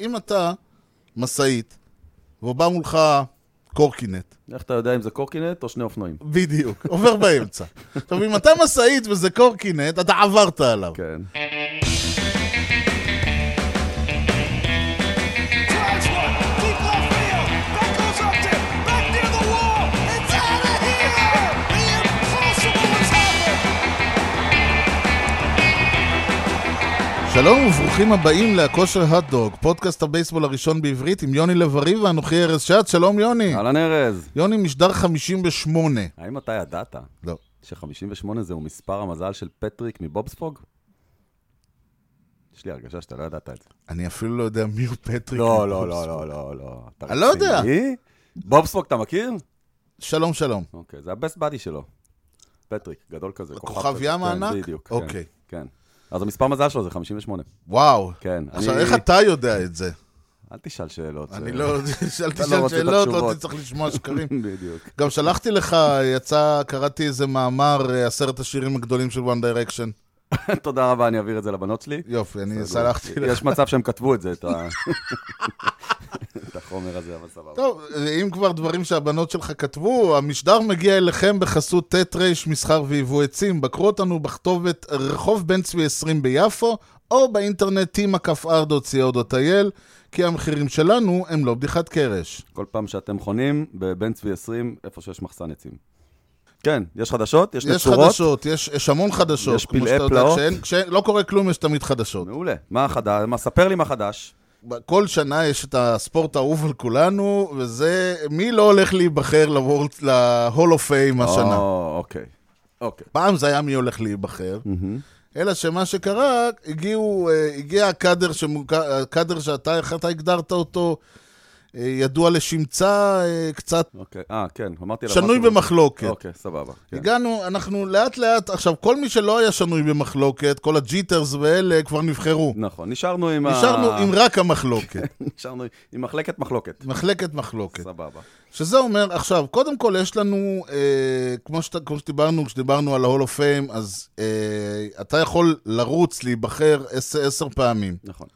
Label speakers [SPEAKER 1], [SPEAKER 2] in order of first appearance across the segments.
[SPEAKER 1] אם אתה משאית, ובא מולך קורקינט,
[SPEAKER 2] איך אתה יודע אם זה קורקינט או שני אופנועים?
[SPEAKER 1] בדיוק, עובר באמצע. עכשיו, אם אתה משאית וזה קורקינט, אתה עברת עליו.
[SPEAKER 2] כן.
[SPEAKER 3] Drives one, deep left field. That goes up there, back near the wall. It's out of here. The impossible has happened.
[SPEAKER 1] שלום וברוכים הבאים להכושר הדוג, פודקאסט הבייסבול הראשון בעברית עם יוני לב-ארי ואנוכי ארז שץ, שלום יוני.
[SPEAKER 2] אהלן ארז,
[SPEAKER 1] יוני משדר 58.
[SPEAKER 2] האם אתה ידעת
[SPEAKER 1] לא.
[SPEAKER 2] ש-58 זהו מספר המזל של פטריק מבובספוג? יש לי הרגשה שאתה לא ידעת את זה.
[SPEAKER 1] אני אפילו לא יודע מי הוא פטריק.
[SPEAKER 2] לא, לא, לא, לא, לא, לא. אתה
[SPEAKER 1] אני לא יודע.
[SPEAKER 2] רציני? בובספוג אתה מכיר?
[SPEAKER 1] שלום, שלום.
[SPEAKER 2] אוקיי, זה הבסט באדי שלו. פטריק, גדול כזה.
[SPEAKER 1] כוכב
[SPEAKER 2] כזה.
[SPEAKER 1] ים
[SPEAKER 2] כן,
[SPEAKER 1] הענק?
[SPEAKER 2] בדיוק, כן,
[SPEAKER 1] אוקיי.
[SPEAKER 2] כן. אז המספר מזל שלו זה 58.
[SPEAKER 1] וואו.
[SPEAKER 2] כן,
[SPEAKER 1] עכשיו,
[SPEAKER 2] אני-
[SPEAKER 1] איך אתה יודע את זה?
[SPEAKER 2] אל תשאל שאלות.
[SPEAKER 1] אני
[SPEAKER 2] אה,
[SPEAKER 1] לא, אל
[SPEAKER 2] לא
[SPEAKER 1] תשאל
[SPEAKER 2] רוצה את
[SPEAKER 1] שאלות, לא
[SPEAKER 2] התשובות.
[SPEAKER 1] תצטרך לשמוע שקרים.
[SPEAKER 2] בדיוק.
[SPEAKER 1] גם שלחתי לך, יצא, קראתי איזה מאמר, אה, עשרת השירים הגדולים של One Direction.
[SPEAKER 2] תודה רבה, אני אעביר את זה לבנות שלי.
[SPEAKER 1] יופי, אני סלחתי לך.
[SPEAKER 2] יש מצב שהם כתבו את זה, את ה- את החומר הזה, אבל סבבה.
[SPEAKER 1] טוב, אה, אם כבר דברים שהבנות שלך כתבו, המשדר מגיע אליכם בחסות ט' ר' מסחר ויבוא עצים. בקרו אותנו בכתובת רחוב בן צבי 20 ביפו, או באינטרנט tima.co.il, כי המחירים שלנו הם לא בדיחת קרש.
[SPEAKER 2] כל פעם שאתם חונים בבן צבי 20, איפה שיש מחסן עצים. כן, יש חדשות, יש
[SPEAKER 1] יש
[SPEAKER 2] נצורות.
[SPEAKER 1] חדשות, יש, יש המון חדשות.
[SPEAKER 2] יש
[SPEAKER 1] כמו
[SPEAKER 2] פלאי
[SPEAKER 1] שאתה יודע,
[SPEAKER 2] פלאות.
[SPEAKER 1] כשאין- כשאין- לא קורה כלום, יש תמיד חדשות.
[SPEAKER 2] מעולה. מה החדש? מה, ספר לי מה חדש.
[SPEAKER 1] כל שנה יש את הספורט האהוב על כולנו, וזה מי לא הולך להיבחר לוורלד- ל-Hall of Fame השנה.
[SPEAKER 2] או, אוקיי. אוקיי.
[SPEAKER 1] פעם זה היה מי הולך להיבחר, אלא שמה שקרה, הגיעו, אה, הגיע הקאדר, שמוכר, הקאדר שאתה, איך אתה הגדרת אותו, אה, ידוע לשמצה, אה, קצת
[SPEAKER 2] אוקיי. אה, כן, אמרתי עליו
[SPEAKER 1] שנוי
[SPEAKER 2] משהו.
[SPEAKER 1] במחלוקת.
[SPEAKER 2] אוקיי, סבבה. כן.
[SPEAKER 1] הגענו, אנחנו לאט לאט, עכשיו, כל מי שלא היה שנוי במחלוקת, כל הג'יטרס ואלה כבר נבחרו.
[SPEAKER 2] נכון, נשארנו עם ה...
[SPEAKER 1] נשארנו עם רק המחלוקת,
[SPEAKER 2] נשארנו עם מחלקת מחלוקת.
[SPEAKER 1] מחלקת מחלוקת.
[SPEAKER 2] סבבה.
[SPEAKER 1] שזה אומר, עכשיו, קודם כל יש לנו, אה, כמו, שת, כמו שדיברנו, כשדיברנו על ה-Hall of Fame, אז אה, אתה יכול לרוץ, להיבחר עשר, עשר פעמים.
[SPEAKER 2] נכון,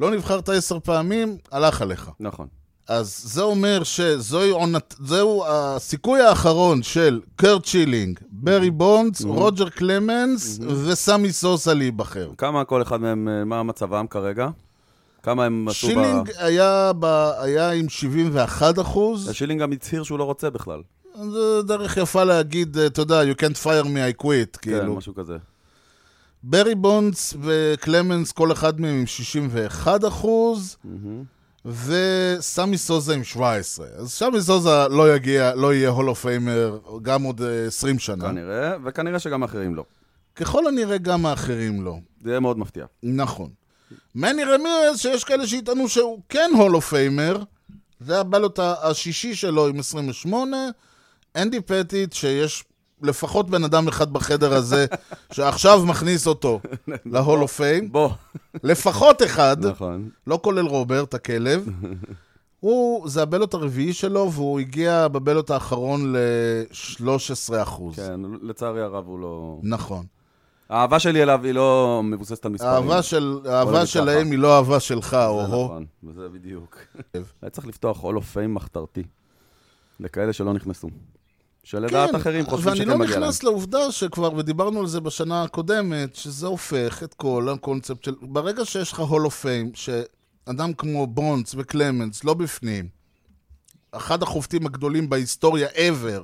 [SPEAKER 1] לא נבחרת עשר פעמים, הלך עליך.
[SPEAKER 2] נכון.
[SPEAKER 1] אז זה אומר שזוהי עונת, זהו הסיכוי האחרון של קרט צ'ילינג,
[SPEAKER 2] Mm-hmm.
[SPEAKER 1] ברי בונדס, רוג'ר קלמנס וסמי סוסה להיבחר.
[SPEAKER 2] כמה כל אחד מהם, אה, מה מצבם כרגע? כמה הם עשו ב...
[SPEAKER 1] שילינג היה, ב, היה עם 71 אחוז,
[SPEAKER 2] השילינג גם הצהיר שהוא לא רוצה בכלל.
[SPEAKER 1] כאילו. זו דרך יפה להגיד, אה, אתה יודע, you can't fire me, I quit,
[SPEAKER 2] כן,
[SPEAKER 1] כאילו.
[SPEAKER 2] משהו כזה.
[SPEAKER 1] ברי בונדס וקלמנס, כל אחד מהם עם 61 אחוז, וסמי סוזה עם 17. אז סמי סוזה לא יגיע, לא יהיה הולו פיימר גם עוד אה, 20 שנה.
[SPEAKER 2] כנראה, וכנראה שגם האחרים לא.
[SPEAKER 1] ככל הנראה גם האחרים לא.
[SPEAKER 2] זה יהיה מאוד מפתיע.
[SPEAKER 1] נכון. מני רמירז, שיש כאלה שיטענו שהוא כן הולו פיימר, זה הבעלות השישי שלו עם 28, אנדי פטיט, שיש לפחות בן אדם אחד בחדר הזה, שעכשיו מכניס אותו להולו פיים.
[SPEAKER 2] בוא.
[SPEAKER 1] לפחות אחד,
[SPEAKER 2] נכון.
[SPEAKER 1] לא כולל רוברט, הכלב. הוא, זה הבלוט הרביעי שלו, והוא הגיע בבלוט האחרון ל-13 אחוז.
[SPEAKER 2] כן, לצערי הרב הוא לא...
[SPEAKER 1] נכון.
[SPEAKER 2] האהבה שלי אליו היא לא מבוססת על מספרים.
[SPEAKER 1] האהבה, של, האהבה
[SPEAKER 2] ככה.
[SPEAKER 1] שלהם היא לא אהבה שלך,
[SPEAKER 2] זה
[SPEAKER 1] או-הו. כן.
[SPEAKER 2] נכון, וזה בדיוק. היה צריך לפתוח הול אוף פיים מחתרתי. לכאלה שלא נכנסו. שלדעת אחרים חושבים
[SPEAKER 1] ואני
[SPEAKER 2] שכן
[SPEAKER 1] לא
[SPEAKER 2] מגיע להם.
[SPEAKER 1] נכנס לעובדה שכבר, ודיברנו על זה בשנה הקודמת, שזה הופך את כל הקונספט של... ברגע שיש לך הולו פיים, שאדם כמו בונדס וקלמנס לא בפנים, אחד החובטים הגדולים בהיסטוריה ever,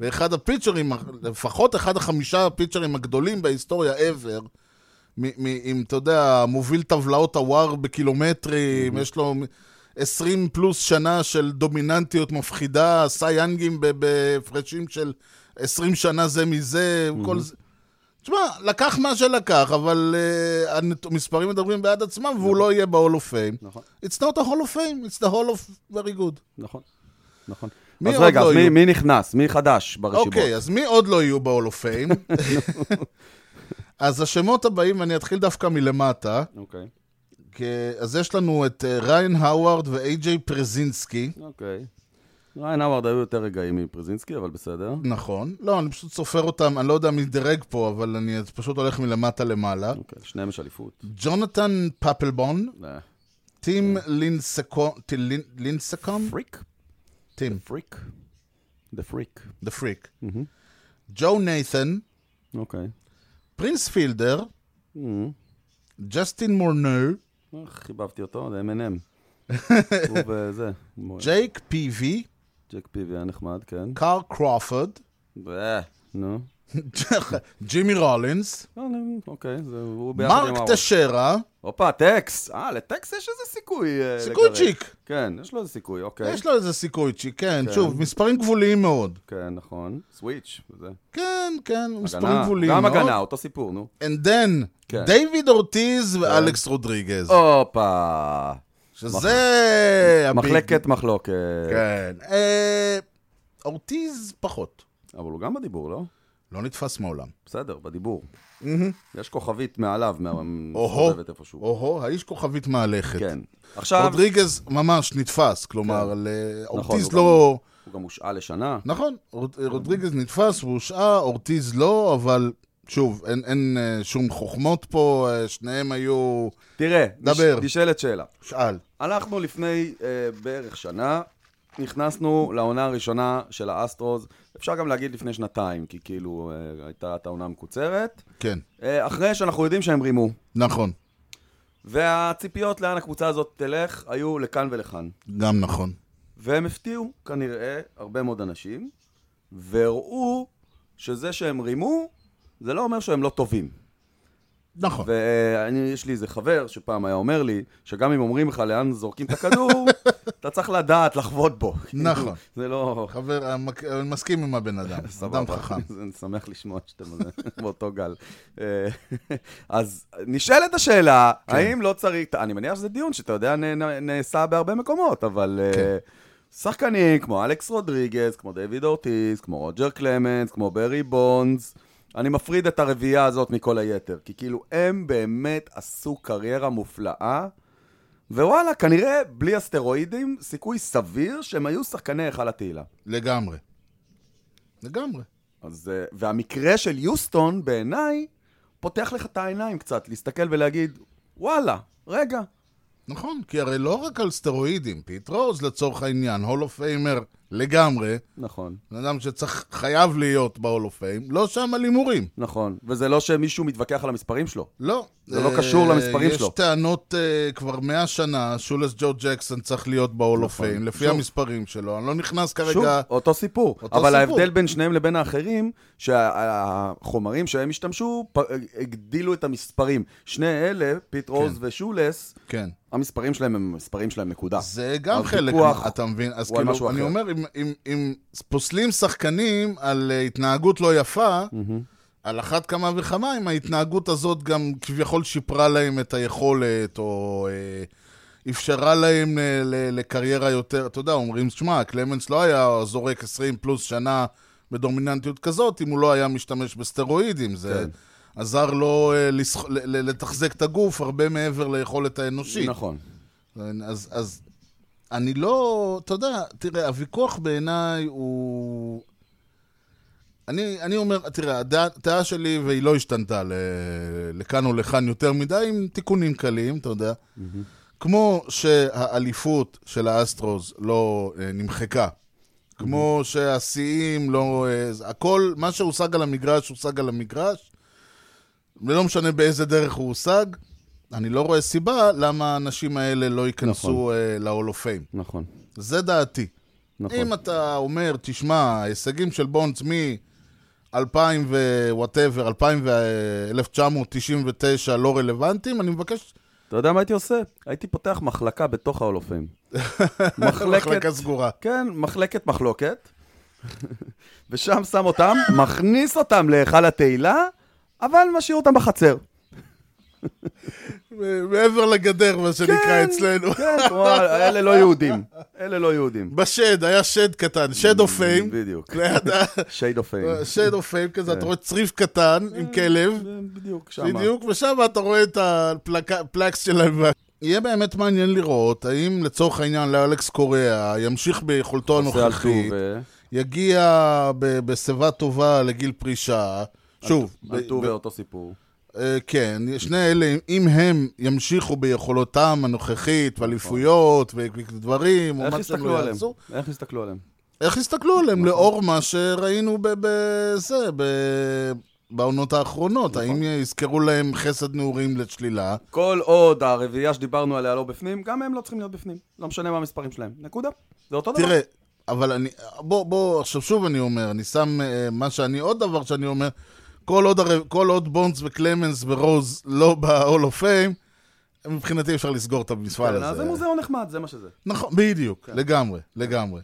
[SPEAKER 1] ואחד הפיצ'רים, לפחות אחד החמישה הפיצ'רים הגדולים בהיסטוריה ever, מ- מ- אם אתה יודע, מוביל טבלאות הוואר בקילומטרים, יש לו 20 פלוס שנה של דומיננטיות מפחידה, עשה יאנגים ב- בהפרשים של 20 שנה זה מזה, כל זה. תשמע, לקח מה שלקח, אבל uh, המספרים מדברים בעד עצמם, והוא לא יהיה ב-Hall of Fame.
[SPEAKER 2] נכון,
[SPEAKER 1] It's not a Hall of Fame, it's the Hall of very good.
[SPEAKER 2] נכון, נכון.
[SPEAKER 1] מי
[SPEAKER 2] אז
[SPEAKER 1] עוד
[SPEAKER 2] רגע,
[SPEAKER 1] לא
[SPEAKER 2] אז מי-
[SPEAKER 1] היו?
[SPEAKER 2] מי נכנס? מי חדש ברשימות?
[SPEAKER 1] אוקיי, אז מי עוד לא יהיו ב-Hall of Fame? אז השמות הבאים, אני אתחיל דווקא מלמטה.
[SPEAKER 2] אוקיי.
[SPEAKER 1] כ- אז יש לנו את אה, ריין האווארד ואיי-ג'יי פרזינסקי,
[SPEAKER 2] אוקיי. ריין האווארד היו יותר רגעים מפרזינסקי, אבל בסדר.
[SPEAKER 1] נכון. לא, אני פשוט סופר אותם, אני לא יודע מי דירג פה, אבל אני פשוט הולך מלמטה למעלה.
[SPEAKER 2] אוקיי, שניהם יש אליפות.
[SPEAKER 1] ג'ונתן פפלבון,
[SPEAKER 2] אה,
[SPEAKER 1] טים לינסקום, טים לינ- לינסקום?
[SPEAKER 2] פריק?
[SPEAKER 1] טים,
[SPEAKER 2] פריק? דה פריק.
[SPEAKER 1] דה פריק. ג'ו נייתן,
[SPEAKER 2] אוקיי.
[SPEAKER 1] פרינס פילדר,
[SPEAKER 2] אמ,
[SPEAKER 1] ג'סטין מורנר,
[SPEAKER 2] אה, חיבבתי אותו, זה M&M. הוא וזה. מ-
[SPEAKER 1] ג'ייק פיבי,
[SPEAKER 2] ג'ק פיבי היה נחמד, כן.
[SPEAKER 1] קאר קרופורד,
[SPEAKER 2] אה, נו.
[SPEAKER 1] ג'ימי רולינס,
[SPEAKER 2] אה, נו, אוקיי, זה הוא ביחד עם
[SPEAKER 1] מרק
[SPEAKER 2] האור.
[SPEAKER 1] טשרה,
[SPEAKER 2] הופה, טקס. אה, לטקס יש איזה סיכוי. אה,
[SPEAKER 1] סיכויצ'יק.
[SPEAKER 2] לגרד. כן, יש לו איזה סיכוי, אוקיי.
[SPEAKER 1] יש לו איזה סיכויצ'יק, כן, שוב, מספרים גבוליים מאוד.
[SPEAKER 2] כן, נכון. סוויץ', וזה.
[SPEAKER 1] כן, כן, מספרים
[SPEAKER 2] הגנה,
[SPEAKER 1] גבוליים
[SPEAKER 2] גם
[SPEAKER 1] מאוד.
[SPEAKER 2] הגנה, אותו סיפור, נו.
[SPEAKER 1] And then,
[SPEAKER 2] כן.
[SPEAKER 1] דיוויד אורטיז ואלכס רודריגז.
[SPEAKER 2] הופה.
[SPEAKER 1] שזה... הביג-
[SPEAKER 2] מחלקת מחלוקת.
[SPEAKER 1] כן. אה, אורטיז פחות.
[SPEAKER 2] אבל הוא גם בדיבור, לא?
[SPEAKER 1] לא נתפס מעולם.
[SPEAKER 2] בסדר, בדיבור. יש כוכבית מעליו, מה- מסתובבת איפשהו.
[SPEAKER 1] או-הו, האיש כוכבית מהלכת.
[SPEAKER 2] כן. עכשיו, כן.
[SPEAKER 1] רודריגז ממש נתפס, כלומר, על, אה, אורטיז
[SPEAKER 2] נכון, הוא
[SPEAKER 1] לא...
[SPEAKER 2] הוא גם הושעה לשנה.
[SPEAKER 1] נכון, רוד- רודריגז נתפס, הוא הושעה, אורטיז לא, אבל שוב, אין- אין אה, שום חוכמות פה, אה, שניהם היו...
[SPEAKER 2] תראה,
[SPEAKER 1] דבר.
[SPEAKER 2] נש- נשאלת שאלה.
[SPEAKER 1] שאל.
[SPEAKER 2] אנחנו לפני אה, בערך שנה, נכנסנו לעונה הראשונה של האסטרוז, אפשר גם להגיד לפני שנתיים, כי כאילו אה, הייתה את העונה המקוצרת,
[SPEAKER 1] כן,
[SPEAKER 2] אה, אחרי שאנחנו יודעים שהם רימו.
[SPEAKER 1] נכון,
[SPEAKER 2] והציפיות לאן הקבוצה הזאת תלך היו לכאן ולכאן.
[SPEAKER 1] גם נכון.
[SPEAKER 2] והם הפתיעו כנראה הרבה מאוד אנשים, והראו שזה שהם רימו, זה לא אומר שהם לא טובים.
[SPEAKER 1] נכון.
[SPEAKER 2] ויש לי איזה חבר שפעם היה אומר לי, שגם אם אומרים לך לאן זורקים את הכדור, אתה צריך לדעת לחבוט בו.
[SPEAKER 1] נכון.
[SPEAKER 2] זה לא...
[SPEAKER 1] חבר, המק- אני מסכים עם הבן אדם, אדם חכם.
[SPEAKER 2] זה- אני שמח לשמוע שאתם על זה, באותו גל. אה, אז נשאלת השאלה,
[SPEAKER 1] כן.
[SPEAKER 2] האם לא צריך... אני מניח שזה דיון שאתה יודע, נ- נ- נעשה בהרבה מקומות, אבל... אה,
[SPEAKER 1] כן.
[SPEAKER 2] שחקנים כמו אלכס רודריגז, כמו דיוויד אורטיס, כמו רוג'ר קלמנס, כמו ברי בונדס. אני מפריד את הרביעייה הזאת מכל היתר, כי כאילו הם באמת עשו קריירה מופלאה, ווואלה, כנראה בלי הסטרואידים, סיכוי סביר שהם היו שחקני היכל התהילה.
[SPEAKER 1] לגמרי. לגמרי.
[SPEAKER 2] אז, אה, והמקרה של יוסטון, בעיניי, פותח לך את העיניים קצת, להסתכל ולהגיד, וואלה, רגע.
[SPEAKER 1] נכון, כי הרי לא רק על סטרואידים, פיט רוז לצורך העניין, הול אוף פיימר לגמרי,
[SPEAKER 2] נכון,
[SPEAKER 1] בן אדם שצריך, חייב להיות בהול אוף פיים, לא שם על הימורים.
[SPEAKER 2] נכון. וזה לא שמישהו מתווכח על המספרים שלו.
[SPEAKER 1] לא.
[SPEAKER 2] זה לא
[SPEAKER 1] אה,
[SPEAKER 2] קשור למספרים שלו.
[SPEAKER 1] יש טענות אה, כבר מאה שנה, שולס ג'ו ג'קסון צריך להיות בהול אוף
[SPEAKER 2] נכון.
[SPEAKER 1] פיים, לפי
[SPEAKER 2] שוב.
[SPEAKER 1] המספרים שלו, אני לא נכנס
[SPEAKER 2] שוב,
[SPEAKER 1] כרגע...
[SPEAKER 2] אותו סיפור.
[SPEAKER 1] אותו
[SPEAKER 2] אבל
[SPEAKER 1] סיפור.
[SPEAKER 2] ההבדל בין שניהם לבין האחרים, שהחומרים שהם השתמשו, פ- אה, הגדילו את המספרים. שני אלה, פיט רוז ושולס,
[SPEAKER 1] כן.
[SPEAKER 2] המספרים שלהם הם מספרים שלהם נקודה.
[SPEAKER 1] זה גם חלק,
[SPEAKER 2] הוויכוח
[SPEAKER 1] מה- אתה מבין? אז
[SPEAKER 2] הוא על משהו
[SPEAKER 1] כאילו, אני
[SPEAKER 2] אחר.
[SPEAKER 1] אומר, אם- אם- אם פוסלים שחקנים על אה, התנהגות לא יפה, על אחת כמה וכמה, אם ההתנהגות הזאת גם כביכול שיפרה להם את היכולת, או אה, אפשרה להם אה, ל- לקריירה יותר, אתה יודע, אומרים, שמע, קלמנס לא היה זורק 20 פלוס שנה בדומיננטיות כזאת, אם הוא לא היה משתמש בסטרואידים, זה...
[SPEAKER 2] כן.
[SPEAKER 1] עזר לו אה, לסח- ל- ל- לתחזק את הגוף הרבה מעבר ליכולת האנושית.
[SPEAKER 2] נכון.
[SPEAKER 1] אז, אז אני לא, אתה יודע, תראה, הוויכוח בעיניי הוא... אני, אני אומר, תראה, הדעה הדעה שלי, והיא לא השתנתה ל, לכאן או לכאן יותר מדי, עם תיקונים קלים, אתה יודע. כמו שהאליפות של האסטרוס לא אה, נמחקה, כמו שהשיאים לא... אה, הכל, מה שהושג על המגרש, הושג על המגרש, ולא משנה באיזה דרך הוא הושג. אני לא רואה סיבה למה האנשים האלה לא ייכנסו
[SPEAKER 2] נכון.
[SPEAKER 1] נכון. ל-all of fame.
[SPEAKER 2] נכון.
[SPEAKER 1] זה דעתי. נכון.
[SPEAKER 2] נכון.
[SPEAKER 1] אם אתה אומר, תשמע, ההישגים של בונדס מ-2000 ווואטאבר, 1999 לא רלוונטיים, אני מבקש
[SPEAKER 2] אתה יודע מה הייתי עושה? הייתי פותח מחלקה בתוך ההולופים. מחלקת,
[SPEAKER 1] מחלקה סגורה.
[SPEAKER 2] כן, מחלקת מחלוקת, ושם שם אותם, מכניס אותם להיכל התהילה, אבל משאיר אותם בחצר.
[SPEAKER 1] מעבר לגדר, מה שנקרא אצלנו.
[SPEAKER 2] כן, כמו אלה לא יהודים. אלה לא יהודים.
[SPEAKER 1] בשד, היה שד קטן, שד אוף פיים.
[SPEAKER 2] בדיוק.
[SPEAKER 1] ליד ה-
[SPEAKER 2] שייד אוף פיין.
[SPEAKER 1] שד אוף פיים כזה, אתה רואה צריף קטן עם כלב.
[SPEAKER 2] כן, בדיוק, שמה.
[SPEAKER 1] בדיוק, ושם אתה רואה את הפלקס שלהם. וה- יהיה באמת מעניין לראות האם לצורך העניין לאלכס קוריאה ימשיך ביכולתו
[SPEAKER 2] עושה על
[SPEAKER 1] הנוכחית,
[SPEAKER 2] טו
[SPEAKER 1] יגיע ב- בשיבה טובה לגיל פרישה. שוב,
[SPEAKER 2] ו- על
[SPEAKER 1] ב-
[SPEAKER 2] טו
[SPEAKER 1] ב-
[SPEAKER 2] ואותו סיפור.
[SPEAKER 1] אה, כן, שני אלה, אם- אם הם ימשיכו ביכולותם הנוכחית, ואליפויות, ו- ודברים, או
[SPEAKER 2] איך
[SPEAKER 1] מה שהם
[SPEAKER 2] יסתכלו
[SPEAKER 1] לא
[SPEAKER 2] עליהם? נכון.
[SPEAKER 1] יעשו,
[SPEAKER 2] איך יסתכלו עליהם?
[SPEAKER 1] איך יסתכלו עליהם לאור מה שראינו ב- בזה, ב- בעונות האחרונות?
[SPEAKER 2] נכון.
[SPEAKER 1] האם יזכרו להם חסד נעורים לשלילה?
[SPEAKER 2] כל עוד הרביעייה שדיברנו עליה לא בפנים, גם הם לא צריכים להיות בפנים. לא משנה מה המספרים שלהם. נקודה. זה אותו דבר.
[SPEAKER 1] תראה, אבל אני... בוא, בוא, עכשיו שוב אני אומר, אני שם אה, מה שאני, עוד דבר שאני אומר, כל עוד, הר- כל עוד בונדס וקלמנס ורוז לא ב-all of fame, מבחינתי אפשר לסגור את המפעל
[SPEAKER 2] כן, אז
[SPEAKER 1] הזה.
[SPEAKER 2] זה מוזיאון נחמד, זה מה שזה.
[SPEAKER 1] נכון, בדיוק, לגמרי, לגמרי.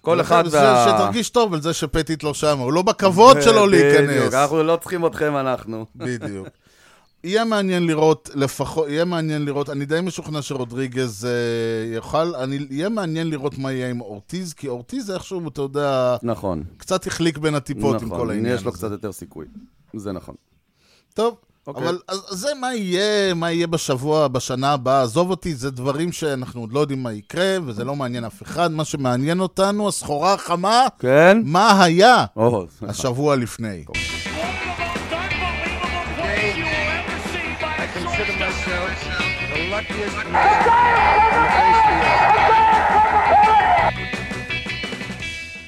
[SPEAKER 2] כל אחד
[SPEAKER 1] זה
[SPEAKER 2] וה...
[SPEAKER 1] שתרגיש טוב על זה שפטית לא שמה, הוא לא בכבוד שלו
[SPEAKER 2] בדיוק,
[SPEAKER 1] להיכנס.
[SPEAKER 2] אנחנו לא צריכים אתכם, אנחנו.
[SPEAKER 1] בדיוק. יהיה מעניין לראות, לפחות, יהיה מעניין לראות, אני די משוכנע שרודריגז אה, יוכל, אני, יהיה מעניין לראות מה יהיה עם אורטיז, כי אורטיז איכשהו, אתה יודע,
[SPEAKER 2] נכון.
[SPEAKER 1] קצת החליק בין הטיפות עם כל
[SPEAKER 2] נכון,
[SPEAKER 1] העניין
[SPEAKER 2] יש
[SPEAKER 1] הזה.
[SPEAKER 2] לו קצת יותר סיכוי. זה נכון.
[SPEAKER 1] טוב,
[SPEAKER 2] אוקיי.
[SPEAKER 1] אבל אז, אז זה מה יהיה, מה יהיה בשבוע, בשנה הבאה, עזוב אותי, זה דברים שאנחנו עוד לא יודעים מה יקרה, וזה לא מעניין אף אחד, מה שמעניין אותנו, הסחורה החמה,
[SPEAKER 2] כן?
[SPEAKER 1] מה היה
[SPEAKER 2] או,
[SPEAKER 1] השבוע לפני.
[SPEAKER 4] One of the most unbelievable plays you will ever see by a shortstop.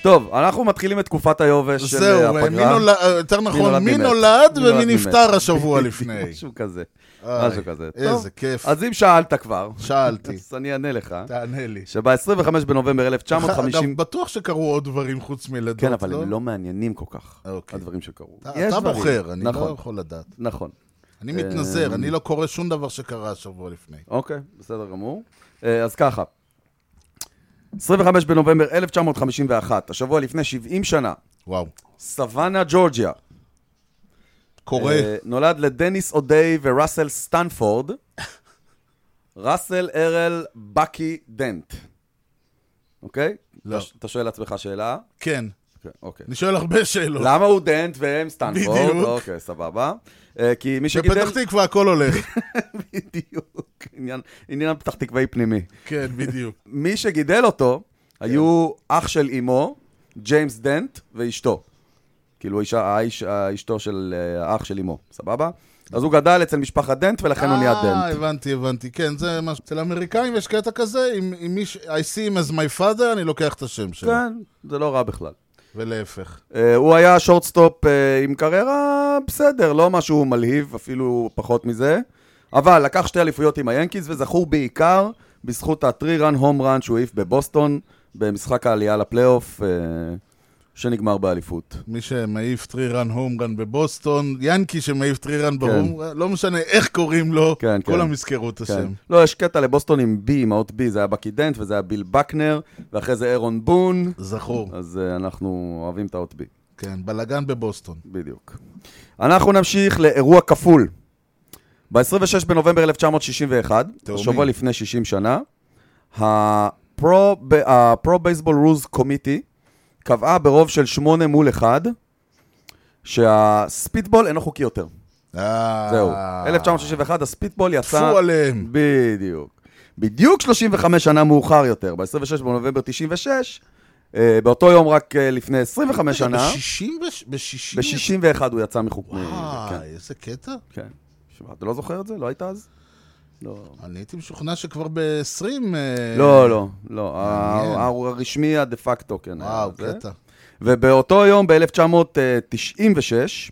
[SPEAKER 2] טוב, אנחנו מתחילים את תקופת היובש של אה,
[SPEAKER 1] זהו, אה,
[SPEAKER 2] הפגרה.
[SPEAKER 1] מי נולד, יותר נכון, מי
[SPEAKER 2] מת.
[SPEAKER 1] נולד
[SPEAKER 2] מי
[SPEAKER 1] ומי
[SPEAKER 2] מי מת.
[SPEAKER 1] נפטר השבוע לפני.
[SPEAKER 2] משהו כזה.
[SPEAKER 1] איי,
[SPEAKER 2] משהו כזה.
[SPEAKER 1] איזה
[SPEAKER 2] טוב,
[SPEAKER 1] כיף.
[SPEAKER 2] אז אם שאלת כבר,
[SPEAKER 1] שאלתי,
[SPEAKER 2] אז אני אענה לך,
[SPEAKER 1] תענה לי.
[SPEAKER 2] שב-25 בנובמבר
[SPEAKER 1] אגב,
[SPEAKER 2] 1950...
[SPEAKER 1] בטוח שקרו עוד דברים חוץ מילדות, לא?
[SPEAKER 2] כן, אבל הם לא מעניינים כל כך,
[SPEAKER 1] אוקיי.
[SPEAKER 2] הדברים שקרו.
[SPEAKER 1] אתה-
[SPEAKER 2] יש
[SPEAKER 1] אתה
[SPEAKER 2] דברים.
[SPEAKER 1] בוחר, אני לא
[SPEAKER 2] נכון, אה,
[SPEAKER 1] יכול לדעת.
[SPEAKER 2] נכון.
[SPEAKER 1] אני מתנזר, אני לא קורא שום דבר שקרה השבוע לפני.
[SPEAKER 2] אוקיי, בסדר גמור. אה, אז ככה, 25 בנובמבר 1951, השבוע לפני 70 שנה,
[SPEAKER 1] וואו.
[SPEAKER 2] סוואנה, ג'ורג'יה.
[SPEAKER 1] קורא,
[SPEAKER 2] אה, נולד לדניס אודיי וראסל סטנפורד, ראסל ארל בקי דנט. אוקיי?
[SPEAKER 1] לא.
[SPEAKER 2] אתה- אתה שואל לעצמך שאלה?
[SPEAKER 1] כן.
[SPEAKER 2] כן, אוקיי.
[SPEAKER 1] אני שואל הרבה שאלות.
[SPEAKER 2] למה הוא דנט והם סטנפורד?
[SPEAKER 1] לא. בדיוק.
[SPEAKER 2] אוקיי, סבבה. אה, כי מי שגידל...
[SPEAKER 1] בפתח תקווה הכל הולך.
[SPEAKER 2] בדיוק. עניין- עניין פתח תקוואי פנימי.
[SPEAKER 1] כן, בדיוק.
[SPEAKER 2] מי שגידל אותו
[SPEAKER 1] כן.
[SPEAKER 2] היו אח של אמו, ג'יימס דנט, ואשתו. כאילו האישה, האיש, האשתו של אה, האח של אמו, סבבה? אז הוא גדל אצל משפחת דנט, ולכן הוא נהיה
[SPEAKER 1] אה,
[SPEAKER 2] דנט.
[SPEAKER 1] הבנתי, הבנתי. כן, זה מה ש... אצל האמריקאים יש קטע כזה, אם אם מי ש... I see him as my father, אני לוקח את השם שלו.
[SPEAKER 2] כן, זה לא רע בכלל.
[SPEAKER 1] ולהפך.
[SPEAKER 2] אה, הוא היה שורטסטופ אה, עם קריירה בסדר, לא משהו מלהיב, אפילו פחות מזה. אבל לקח שתי אליפויות עם היאנקיז, וזכור בעיקר בזכות הטרי-רן הום רן שהוא העיף בבוסטון, במשחק העלייה לפלייאוף, אה, שנגמר באליפות.
[SPEAKER 1] מי שמעיף טרירן הומרן בבוסטון, ינקי שמעיף טרירן בהומרן, לא משנה איך קוראים לו,
[SPEAKER 2] כן, כן.
[SPEAKER 1] כולם יזכרו את השם.
[SPEAKER 2] לא, יש קטע לבוסטון עם בי, עם האות בי, זה היה בקי דנט וזה היה ביל בקנר, ואחרי זה אירון בון,
[SPEAKER 1] זכור.
[SPEAKER 2] אז אה, אנחנו אוהבים את האות בי,
[SPEAKER 1] כן, בלאגן בבוסטון.
[SPEAKER 2] בדיוק. אנחנו נמשיך לאירוע כפול. ב-26 בנובמבר 1961,
[SPEAKER 1] תאומים.
[SPEAKER 2] שבוע לפני 60 שנה, הפרו בייסבול רוז קומיטי קבעה ברוב של 8 מול 1 שהספיטבול אינו חוקי יותר.
[SPEAKER 1] אה,
[SPEAKER 2] זהו. 1961, הספיטבול יצא...
[SPEAKER 1] טפו עליהם.
[SPEAKER 2] בדיוק. בדיוק 35 שנה מאוחר יותר, ב-26 בנובמבר 96, אה, באותו יום רק אה, לפני 25 שנה,
[SPEAKER 1] ב-60? ב-60?
[SPEAKER 2] ב-61 הוא יצא מחוק... מ-
[SPEAKER 1] וואי,
[SPEAKER 2] כן,
[SPEAKER 1] איזה קטע.
[SPEAKER 2] כן. שמע, אתה לא זוכר את זה? לא היית אז? לא.
[SPEAKER 1] אני הייתי משוכנע שכבר אה, ב-20...
[SPEAKER 2] לא, לא, לא.
[SPEAKER 1] מעניין.
[SPEAKER 2] ה- הרשמי הדה פקטו, כן. היה
[SPEAKER 1] וואו,
[SPEAKER 2] זה.
[SPEAKER 1] קטע.
[SPEAKER 2] ובאותו יום, ב-1996,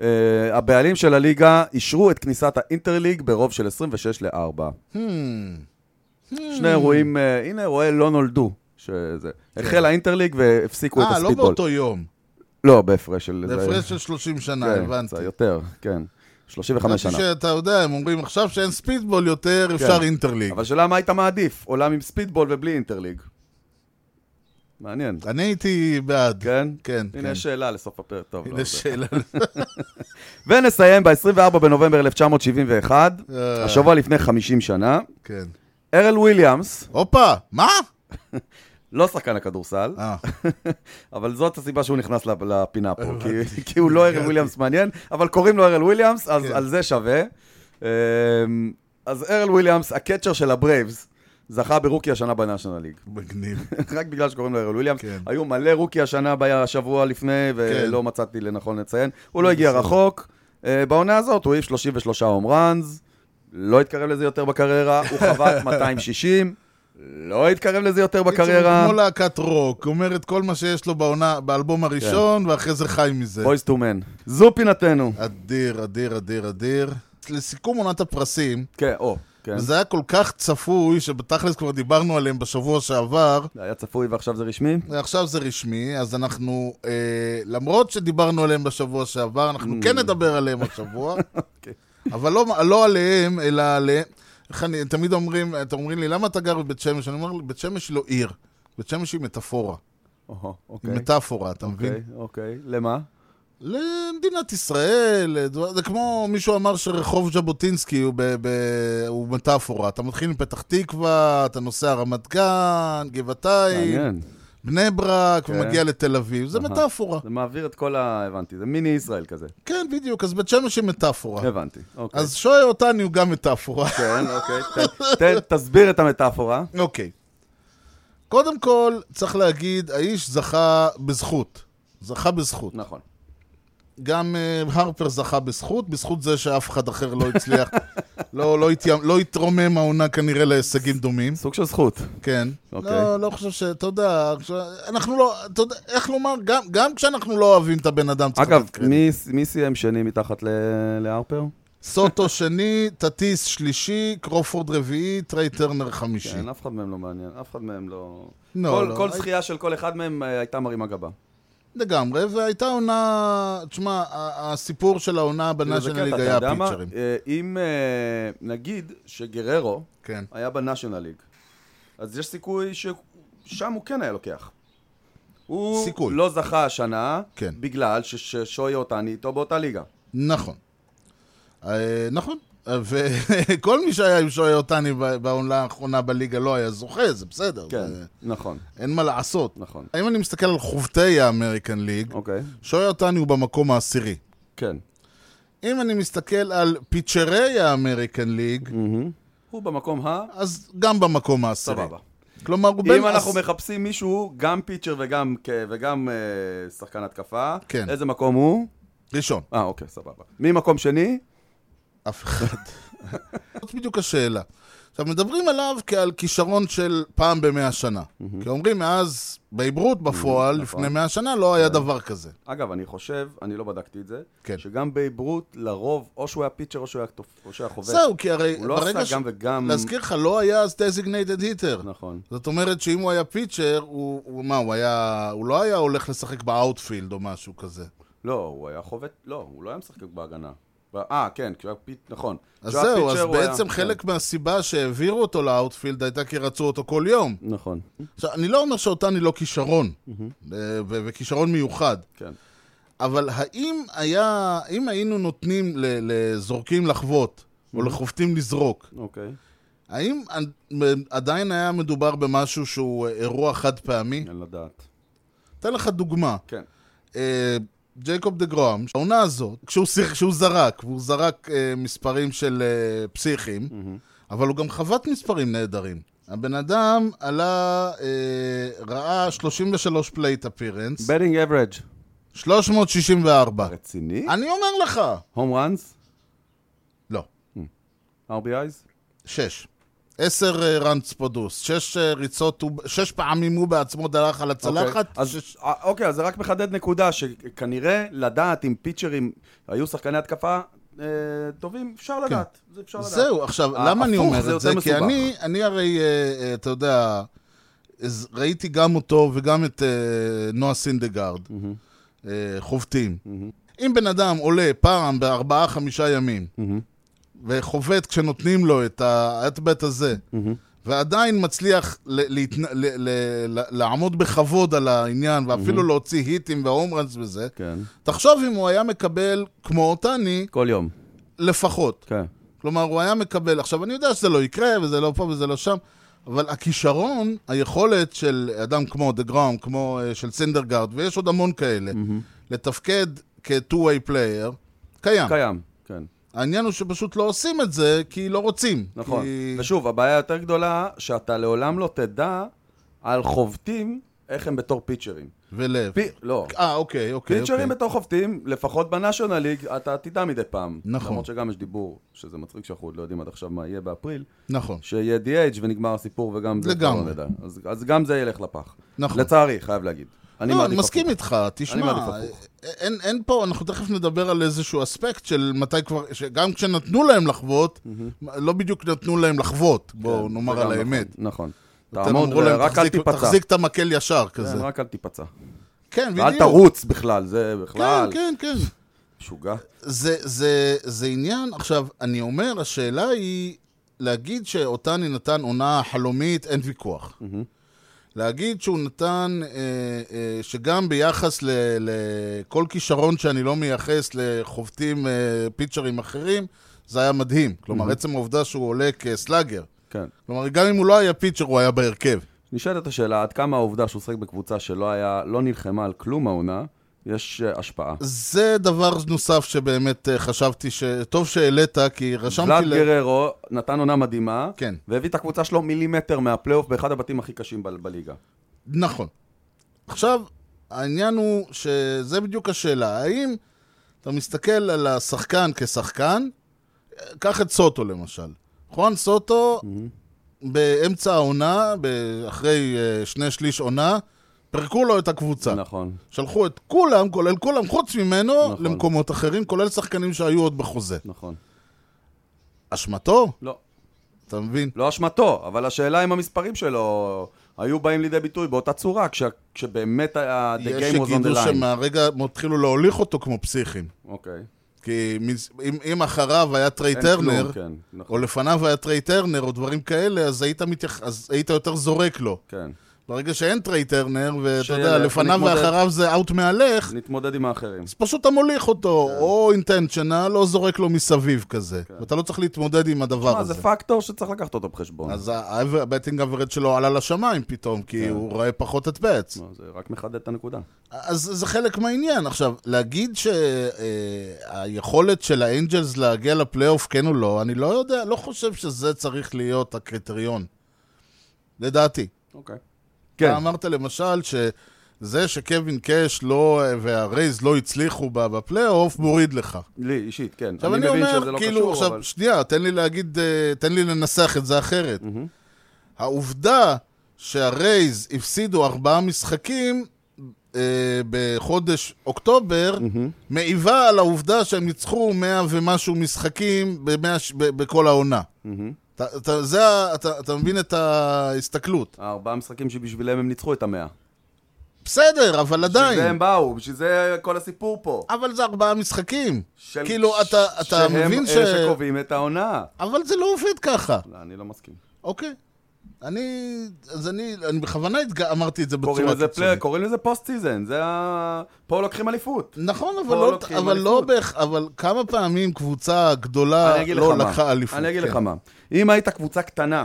[SPEAKER 2] אה, הבעלים של הליגה אישרו את כניסת האינטרליג ברוב של 26 ל-4.
[SPEAKER 1] Hmm.
[SPEAKER 2] שני אירועים, אה, הנה, אירועי לא נולדו. שזה. החל האינטרליג והפסיקו את
[SPEAKER 1] כן. אה, לא
[SPEAKER 2] הספיטבול.
[SPEAKER 1] באותו יום.
[SPEAKER 2] לא, בהפרש של...
[SPEAKER 1] זה הפרש של 30 שנה,
[SPEAKER 2] כן,
[SPEAKER 1] הבנתי.
[SPEAKER 2] זה יותר, כן. 35
[SPEAKER 1] חשבתי
[SPEAKER 2] שנה. כן.
[SPEAKER 1] שאתה יודע, הם אומרים עכשיו שאין ספידבול יותר, אפשר אינטרליג.
[SPEAKER 2] אבל שאלה מה היית מעדיף? עולם עם ספיטבול ובלי אינטרליג. מעניין.
[SPEAKER 1] אני הייתי בעד.
[SPEAKER 2] כן?
[SPEAKER 1] כן,
[SPEAKER 2] הנה
[SPEAKER 1] כן.
[SPEAKER 2] יש שאלה לסוף הפרק. טוב, לא,
[SPEAKER 1] הנה
[SPEAKER 2] זה-
[SPEAKER 1] שאלה.
[SPEAKER 2] ונסיים ב-24 בנובמבר 1971,
[SPEAKER 1] אה.
[SPEAKER 2] השבוע לפני 50 שנה.
[SPEAKER 1] כן.
[SPEAKER 2] ארל וויליאמס,
[SPEAKER 1] הופה, מה?
[SPEAKER 2] לא שחקן הכדורסל,
[SPEAKER 1] אה,
[SPEAKER 2] אבל זאת הסיבה שהוא נכנס לפ- לפינה פה, כי, כי הוא לא ארל וויליאמס מעניין, אבל קוראים לו ארל וויליאמס, אז
[SPEAKER 1] כן.
[SPEAKER 2] על זה שווה. אמ, אז ארל וויליאמס, הקצ'ר של הברייבס, זכה ברוקי השנה בנאשונל ליג.
[SPEAKER 1] מגניב.
[SPEAKER 2] רק בגלל שקוראים לו ארל וויליאמס.
[SPEAKER 1] כן.
[SPEAKER 2] היו מלא רוקי השנה ב- השבוע לפני, ולא מצאתי לנכון לציין. הוא לא הגיע
[SPEAKER 1] בסדר.
[SPEAKER 2] רחוק. אמ, אה, בעונה הזאת הוא העיף 33 הום ראנז, לא התקרב לזה יותר בקריירה, הוא חבט 260, לא התקרב לזה יותר
[SPEAKER 1] בקיצור,
[SPEAKER 2] בקריירה.
[SPEAKER 1] כמו להקת רוק, הוא אומר את כל מה שיש לו בעונה,
[SPEAKER 2] כן.
[SPEAKER 1] באלבום הראשון, ואחרי זה חי מזה.
[SPEAKER 2] בויז טו מן. זו פינתנו.
[SPEAKER 1] אדיר, אדיר, אדיר, אדיר. לסיכום עונת הפרסים,
[SPEAKER 2] כן, או, כן.
[SPEAKER 1] וזה היה כל כך צפוי, שבתכלס כבר דיברנו עליהם בשבוע שעבר,
[SPEAKER 2] זה היה צפוי ועכשיו זה
[SPEAKER 1] אה,
[SPEAKER 2] רשמי?
[SPEAKER 1] ועכשיו זה רשמי, אז אנחנו, אה, למרות שדיברנו עליהם בשבוע שעבר, אנחנו כן נדבר עליהם השבוע,
[SPEAKER 2] Mm. אוקיי.
[SPEAKER 1] אבל לא, לא עליהם, אלא עליהם. איך אני, תמיד אומרים, אתם אומרים לי, למה אתה גר בבית שמש? אני אומר, בית שמש היא לא עיר, בית שמש היא מטאפורה.
[SPEAKER 2] אוהו, אוקיי.
[SPEAKER 1] היא מטאפורה, אתה מבין?
[SPEAKER 2] אוקיי, אוקיי. למה?
[SPEAKER 1] למדינת ישראל, לדבר- זה כמו מישהו אמר שרחוב ז'בוטינסקי הוא, ב, ב, הוא מטאפורה. אתה מתחיל מפתח תקווה, אתה נוסע רמת גן, גבעתיים,
[SPEAKER 2] מעניין.
[SPEAKER 1] בני ברק,
[SPEAKER 2] כן.
[SPEAKER 1] ומגיע לתל אביב. זה
[SPEAKER 2] אהה.
[SPEAKER 1] מטאפורה.
[SPEAKER 2] זה מעביר את כל ה... הבנתי, זה מיני ישראל כזה.
[SPEAKER 1] כן, בדיוק, אז בית שמש היא מטאפורה.
[SPEAKER 2] הבנתי, אוקיי.
[SPEAKER 1] אה. אז שואל אותני הוא גם מטאפורה.
[SPEAKER 2] כן, אוקיי. ת- ת- תסביר את המטאפורה.
[SPEAKER 1] אוקיי. קודם כל, צריך להגיד, האיש זכה בזכות. זכה בזכות.
[SPEAKER 2] נכון.
[SPEAKER 1] גם אה, הרפר זכה בזכות, בזכות זה שאף אחד אחר לא הצליח, לא, לא, התיימ, לא התרומם העונה כנראה להישגים דומים,
[SPEAKER 2] סוג של זכות.
[SPEAKER 1] כן.
[SPEAKER 2] אוקיי.
[SPEAKER 1] לא, לא חושב ש... אתה יודע, כש- אנחנו לא... אתה יודע, איך לומר, גם, גם כשאנחנו לא אוהבים את הבן אדם צריך
[SPEAKER 2] אגב,
[SPEAKER 1] לתת קרדיט.
[SPEAKER 2] מי- מי סיים שני מתחת ל- להרפר?
[SPEAKER 1] סוטו שני, טטיס שלישי, קרופורד רביעי, טריי טרנר חמישי.
[SPEAKER 2] כן, אף אחד מהם לא מעניין, אף אחד מהם לא...
[SPEAKER 1] לא,
[SPEAKER 2] כל-
[SPEAKER 1] לא.
[SPEAKER 2] כל זכייה של כל אחד מהם אה, הייתה מרימה גבה.
[SPEAKER 1] לגמרי, והייתה עונה... תשמע, ה- הסיפור של העונה
[SPEAKER 2] כאילו, זה
[SPEAKER 1] בנאז'נל
[SPEAKER 2] קטע,
[SPEAKER 1] ליג
[SPEAKER 2] אתה
[SPEAKER 1] היה
[SPEAKER 2] יודע מה?
[SPEAKER 1] הפיצ'רים.
[SPEAKER 2] אה, אם אה, נגיד שגררו
[SPEAKER 1] כן.
[SPEAKER 2] היה בנאשונל ליג, אז יש סיכוי ששם הוא כן היה לוקח. הוא
[SPEAKER 1] סיכוי.
[SPEAKER 2] לא זכה השנה,
[SPEAKER 1] כן.
[SPEAKER 2] בגלל ש- ששוי אותני איתו באותה ליגה.
[SPEAKER 1] נכון. אה, נכון. אה, וכל מי שהיה עם שועי אותני ב- בעונה האחרונה בליגה לא היה זוכה, זה בסדר.
[SPEAKER 2] כן,
[SPEAKER 1] זה-
[SPEAKER 2] נכון,
[SPEAKER 1] אין מה לעשות.
[SPEAKER 2] נכון.
[SPEAKER 1] אם אני מסתכל על חובטי האמריקן ליג,
[SPEAKER 2] אוקיי,
[SPEAKER 1] שועי אותני הוא במקום העשירי.
[SPEAKER 2] כן.
[SPEAKER 1] אם אני מסתכל על פיצ'רי האמריקן ליג,
[SPEAKER 2] Mm. הוא במקום ה...
[SPEAKER 1] אז גם במקום העשירי.
[SPEAKER 2] סבבה.
[SPEAKER 1] כלומר, הוא בין...
[SPEAKER 2] אם אנחנו
[SPEAKER 1] עש- מחפשים...
[SPEAKER 2] מחפשים מישהו, גם פיצ'ר וגם כ- וגם אה, שחקן התקפה,
[SPEAKER 1] כן.
[SPEAKER 2] איזה מקום הוא?
[SPEAKER 1] ראשון,
[SPEAKER 2] אה, אוקיי, סבבה. ממקום שני?
[SPEAKER 1] אף אחד. זאת בדיוק השאלה. עכשיו, מדברים עליו כעל כישרון של פעם במאה שנה. כי אומרים, מאז בעברות בפועל,
[SPEAKER 2] נכון.
[SPEAKER 1] לפני מאה שנה, לא
[SPEAKER 2] כן.
[SPEAKER 1] היה דבר כזה.
[SPEAKER 2] אגב, אני חושב, אני לא בדקתי את זה,
[SPEAKER 1] כן.
[SPEAKER 2] שגם בייברוט, לרוב, או שהוא היה פיצ'ר או שהוא היה, תופ... או שהיה חובט.
[SPEAKER 1] זהו, כי הרי
[SPEAKER 2] הוא לא
[SPEAKER 1] ברגע
[SPEAKER 2] עשה גם וגם...
[SPEAKER 1] להזכיר לך, לא היה אז designated hitter.
[SPEAKER 2] נכון.
[SPEAKER 1] זאת אומרת שאם הוא היה פיצ'ר, הוא, הוא מה, הוא היה... הוא לא היה הולך לשחק באאוטפילד או משהו כזה.
[SPEAKER 2] לא, הוא היה חובט, לא, הוא לא היה משחק בהגנה. ב- אה, כן, כשהוא היה פיצ'ר, נכון.
[SPEAKER 1] אז
[SPEAKER 2] כשהוא היה
[SPEAKER 1] זהו, אז
[SPEAKER 2] פיצ'ר, הוא היה- כן.
[SPEAKER 1] בעצם חלק מהסיבה שהעבירו אותו לאאוטפילד הייתה כי רצו אותו כל יום.
[SPEAKER 2] כן. נכון,
[SPEAKER 1] עכשיו, אני לא אומר שאותני לא כישרון, אה, ו- וכישרון מיוחד.
[SPEAKER 2] כן.
[SPEAKER 1] אבל האם היה, אם היינו נותנים ל- לזורקים לחבוט, או לחובטים לזרוק,
[SPEAKER 2] אוקיי.
[SPEAKER 1] האם עד- עדיין היה מדובר במשהו שהוא אה, אירוע חד פעמי?
[SPEAKER 2] אין לדעת.
[SPEAKER 1] אתן לך דוגמה.
[SPEAKER 2] כן.
[SPEAKER 1] אה, ג'ייקוב דה גראם, העונה הזאת, כשהוא, שיח, כשהוא זרק, והוא זרק אה, מספרים של אה, פסיכים, אבל הוא גם חבט מספרים נהדרים. הבן אדם עלה, אה, ראה 33 פלייט אפירנס,
[SPEAKER 2] בטינג אברג'
[SPEAKER 1] 364.
[SPEAKER 2] רציני?
[SPEAKER 1] אני אומר לך,
[SPEAKER 2] הום ראנס?
[SPEAKER 1] לא,
[SPEAKER 2] RBI's?
[SPEAKER 1] 6. 10 ראנץ אה, פודוס, 6 ריצות, 6 פעמים הוא בעצמו דרך על הצלחת,
[SPEAKER 2] אוקיי, אז,
[SPEAKER 1] שש-
[SPEAKER 2] אה, אוקיי, אז זה רק מחדד נקודה שכנראה לדעת אם פיצ'רים היו שחקני התקפה אה, טובים, אפשר לדעת. זה אפשר לדעת.
[SPEAKER 1] כן. זהו, עכשיו,
[SPEAKER 2] ה-
[SPEAKER 1] למה אני
[SPEAKER 2] הפוך
[SPEAKER 1] אומר
[SPEAKER 2] זה
[SPEAKER 1] את זה?
[SPEAKER 2] יותר
[SPEAKER 1] כי
[SPEAKER 2] מסובך.
[SPEAKER 1] אני, אני הרי, אה, אה, אתה יודע, אז ראיתי גם אותו וגם את אה, נועה סינדגרד, אה, חובטים. אם בן אדם עולה פעם בארבעה-חמישה ימים, וחובט כשנותנים לו את האטבט הזה, ועדיין מצליח ל- להתנ- ל- ל- ל- לעמוד בכבוד על העניין, ואפילו להוציא היטים וההומרנס וזה,
[SPEAKER 2] כן.
[SPEAKER 1] תחשוב אם הוא היה מקבל, כמו אותני,
[SPEAKER 2] כל יום.
[SPEAKER 1] לפחות.
[SPEAKER 2] כן.
[SPEAKER 1] כלומר, הוא היה מקבל, עכשיו, אני יודע שזה לא יקרה, וזה לא פה וזה לא שם, אבל הכישרון, היכולת של אדם כמו דה גראום, כמו אה, של סינדרגרד, ויש עוד המון כאלה, לתפקד כ-two-way player, קיים.
[SPEAKER 2] קיים, כן.
[SPEAKER 1] העניין הוא שפשוט לא עושים את זה, כי לא רוצים.
[SPEAKER 2] נכון.
[SPEAKER 1] כי...
[SPEAKER 2] ושוב, הבעיה היותר גדולה, שאתה לעולם לא תדע על חובטים, איך הם בתור פיצ'רים.
[SPEAKER 1] ולב.
[SPEAKER 2] פי- לא.
[SPEAKER 1] אה, אוקיי, אוקיי.
[SPEAKER 2] פיצ'רים
[SPEAKER 1] אוקיי.
[SPEAKER 2] בתור חובטים, לפחות בנאשונל ליג, אתה תדע מדי פעם.
[SPEAKER 1] נכון.
[SPEAKER 2] למרות שגם יש דיבור, שזה מצחיק שאנחנו עוד לא יודעים עד עכשיו מה יהיה באפריל,
[SPEAKER 1] נכון.
[SPEAKER 2] שיהיה DH ונגמר הסיפור וגם זה
[SPEAKER 1] לגמרי.
[SPEAKER 2] כבר לא נדע. אז, אז גם זה ילך לפח.
[SPEAKER 1] נכון.
[SPEAKER 2] לצערי, חייב להגיד. אני
[SPEAKER 1] לא,
[SPEAKER 2] מעדיף
[SPEAKER 1] אני מסכים
[SPEAKER 2] הפוך.
[SPEAKER 1] איתך, תשמע, אה,
[SPEAKER 2] מעדיף הפוך.
[SPEAKER 1] אין, אין פה, אנחנו תכף נדבר על איזשהו אספקט של מתי כבר, שגם כשנתנו להם לחוות, לא בדיוק נתנו להם לחוות, בואו
[SPEAKER 2] כן,
[SPEAKER 1] נאמר
[SPEAKER 2] זה גם
[SPEAKER 1] על האמת.
[SPEAKER 2] נכון, נכון.
[SPEAKER 1] אתם
[SPEAKER 2] תעמוד,
[SPEAKER 1] אמרו להם,
[SPEAKER 2] רק אל
[SPEAKER 1] "תחזיק-
[SPEAKER 2] תיפצע.
[SPEAKER 1] תחזיק את המקל ישר כזה.
[SPEAKER 2] כן, רק אל תיפצע.
[SPEAKER 1] כן, בדיוק.
[SPEAKER 2] אל תרוץ בכלל, זה בכלל.
[SPEAKER 1] כן, כן, כן.
[SPEAKER 2] משוגע.
[SPEAKER 1] זה, זה, זה עניין, עכשיו, אני אומר, השאלה היא להגיד שאותני נתן עונה חלומית, אין ויכוח. להגיד שהוא נתן, אה, אה, שגם ביחס ל- לכל כישרון שאני לא מייחס לחובטים אה, פיצ'רים אחרים, זה היה מדהים. כלומר, עצם העובדה שהוא עולה כסלאגר.
[SPEAKER 2] כן.
[SPEAKER 1] כלומר, גם אם הוא לא היה פיצ'ר, הוא היה בהרכב.
[SPEAKER 2] נשאלת השאלה, עד כמה העובדה שהוא שחק בקבוצה שלא היה, לא נלחמה על כלום העונה, יש אה, השפעה.
[SPEAKER 1] זה דבר נוסף שבאמת אה, חשבתי שטוב שהעלית, כי
[SPEAKER 2] ולאד
[SPEAKER 1] רשמתי... ל-
[SPEAKER 2] גררו נתן עונה מדהימה,
[SPEAKER 1] כן.
[SPEAKER 2] והביא את הקבוצה שלו מילימטר מהפלייאוף באחד הבתים הכי קשים ב- בליגה.
[SPEAKER 1] נכון. עכשיו, העניין הוא שזה בדיוק השאלה. האם אתה מסתכל על השחקן כשחקן, קח את סוטו למשל. חואן סוטו,
[SPEAKER 2] Mm-hmm.
[SPEAKER 1] באמצע העונה, ב- אחרי אה, שני שליש עונה, פירקו לו את הקבוצה.
[SPEAKER 2] נכון.
[SPEAKER 1] שלחו את כולם, כולל כולם, חוץ ממנו,
[SPEAKER 2] נכון.
[SPEAKER 1] למקומות אחרים, כולל שחקנים שהיו עוד בחוזה.
[SPEAKER 2] נכון.
[SPEAKER 1] אשמתו,
[SPEAKER 2] לא.
[SPEAKER 1] אתה מבין?
[SPEAKER 2] לא אשמתו, אבל השאלה אם המספרים שלו היו באים לידי ביטוי באותה צורה, כש, כשבאמת ה- the
[SPEAKER 1] יש
[SPEAKER 2] game was on
[SPEAKER 1] שיגידו
[SPEAKER 2] the line.
[SPEAKER 1] שמהרגע התחילו להוליך אותו כמו פסיכים.
[SPEAKER 2] אוקיי.
[SPEAKER 1] כי מז- אם, אם אחריו היה טריי
[SPEAKER 2] אין
[SPEAKER 1] טרנר,
[SPEAKER 2] כלום, כן, נכון.
[SPEAKER 1] או לפניו היה טריי טרנר, או דברים כאלה, אז היית, מתייח... אז היית יותר זורק לו.
[SPEAKER 2] כן.
[SPEAKER 1] ברגע שאין טריי טרנר, ואתה
[SPEAKER 2] שילך,
[SPEAKER 1] יודע, לפניו
[SPEAKER 2] נתמודד.
[SPEAKER 1] ואחריו זה אאוט מהלך,
[SPEAKER 2] נתמודד עם האחרים.
[SPEAKER 1] אז פשוט אתה מוליך אותו,
[SPEAKER 2] כן.
[SPEAKER 1] או אינטנשיונל, או זורק לו מסביב כזה. ואתה לא צריך להתמודד עם הדבר
[SPEAKER 2] מה, כן. זה
[SPEAKER 1] הזה.
[SPEAKER 2] פקטור שצריך לקחת אותו בחשבון.
[SPEAKER 1] אז הבטינג אברד שלו עלה לשמיים פתאום,
[SPEAKER 2] כן.
[SPEAKER 1] כי הוא רואה פחות את בעץ.
[SPEAKER 2] מה, זה רק מחדד את הנקודה.
[SPEAKER 1] אז זה חלק מהעניין. עכשיו, להגיד שהיכולת של האנג'לס להגיע לפלייאוף, כן או לא, אני לא יודע, לא חושב שזה צריך להיות הקריטריון. לדעתי.
[SPEAKER 2] אוקיי.
[SPEAKER 1] כן.
[SPEAKER 2] כן.
[SPEAKER 1] אתה אמרת למשל שזה שקווין קאש לא, והרייז לא הצליחו ב- בפלייאוף, מוריד לך.
[SPEAKER 2] לי אישית, כן.
[SPEAKER 1] עכשיו, אני,
[SPEAKER 2] מבין
[SPEAKER 1] אומר,
[SPEAKER 2] שזה לא
[SPEAKER 1] כאילו,
[SPEAKER 2] קשור,
[SPEAKER 1] עכשיו,
[SPEAKER 2] אבל...
[SPEAKER 1] שנייה, תן לי להגיד, אה, תן לי לנסח את זה אחרת. העובדה שהרייז הפסידו ארבעה משחקים אה, בחודש אוקטובר, מעיבה על העובדה שהם ניצחו מאה ומשהו משחקים במאה, ש- ב- בכל העונה. אתה, אתה, זה, ה- אתה, אתה מבין את ההסתכלות.
[SPEAKER 2] הארבעה משחקים שבשבילם הם ניצחו את המאה.
[SPEAKER 1] בסדר, אבל עדיין.
[SPEAKER 2] בשביל זה הם באו, בשביל זה כל הסיפור פה.
[SPEAKER 1] אבל זה ארבעה משחקים.
[SPEAKER 2] של-
[SPEAKER 1] כאילו, אתה, אתה
[SPEAKER 2] שהם
[SPEAKER 1] מבין
[SPEAKER 2] אלה
[SPEAKER 1] ש...
[SPEAKER 2] שקובעים את העונה.
[SPEAKER 1] אבל זה לא עובד ככה.
[SPEAKER 2] לא, אני לא מסכים.
[SPEAKER 1] אוקיי. אני, אז אני, אני בכוונה התג... אמרתי את זה
[SPEAKER 2] קוראים
[SPEAKER 1] בצורה
[SPEAKER 2] לזה פלייר,
[SPEAKER 1] קיצונית.
[SPEAKER 2] קוראים לזה פוסט סיזן, זה ה... פה לוקחים אליפות.
[SPEAKER 1] נכון,
[SPEAKER 2] פה
[SPEAKER 1] אבל לא,
[SPEAKER 2] לוקחים
[SPEAKER 1] אבל לא
[SPEAKER 2] אליפות.
[SPEAKER 1] בהכ... אבל כמה פעמים קבוצה גדולה
[SPEAKER 2] אני אגיד
[SPEAKER 1] לא
[SPEAKER 2] לך מה.
[SPEAKER 1] לקחה אליפות?
[SPEAKER 2] אני אגיד
[SPEAKER 1] כן.
[SPEAKER 2] לך מה. אם היית קבוצה קטנה,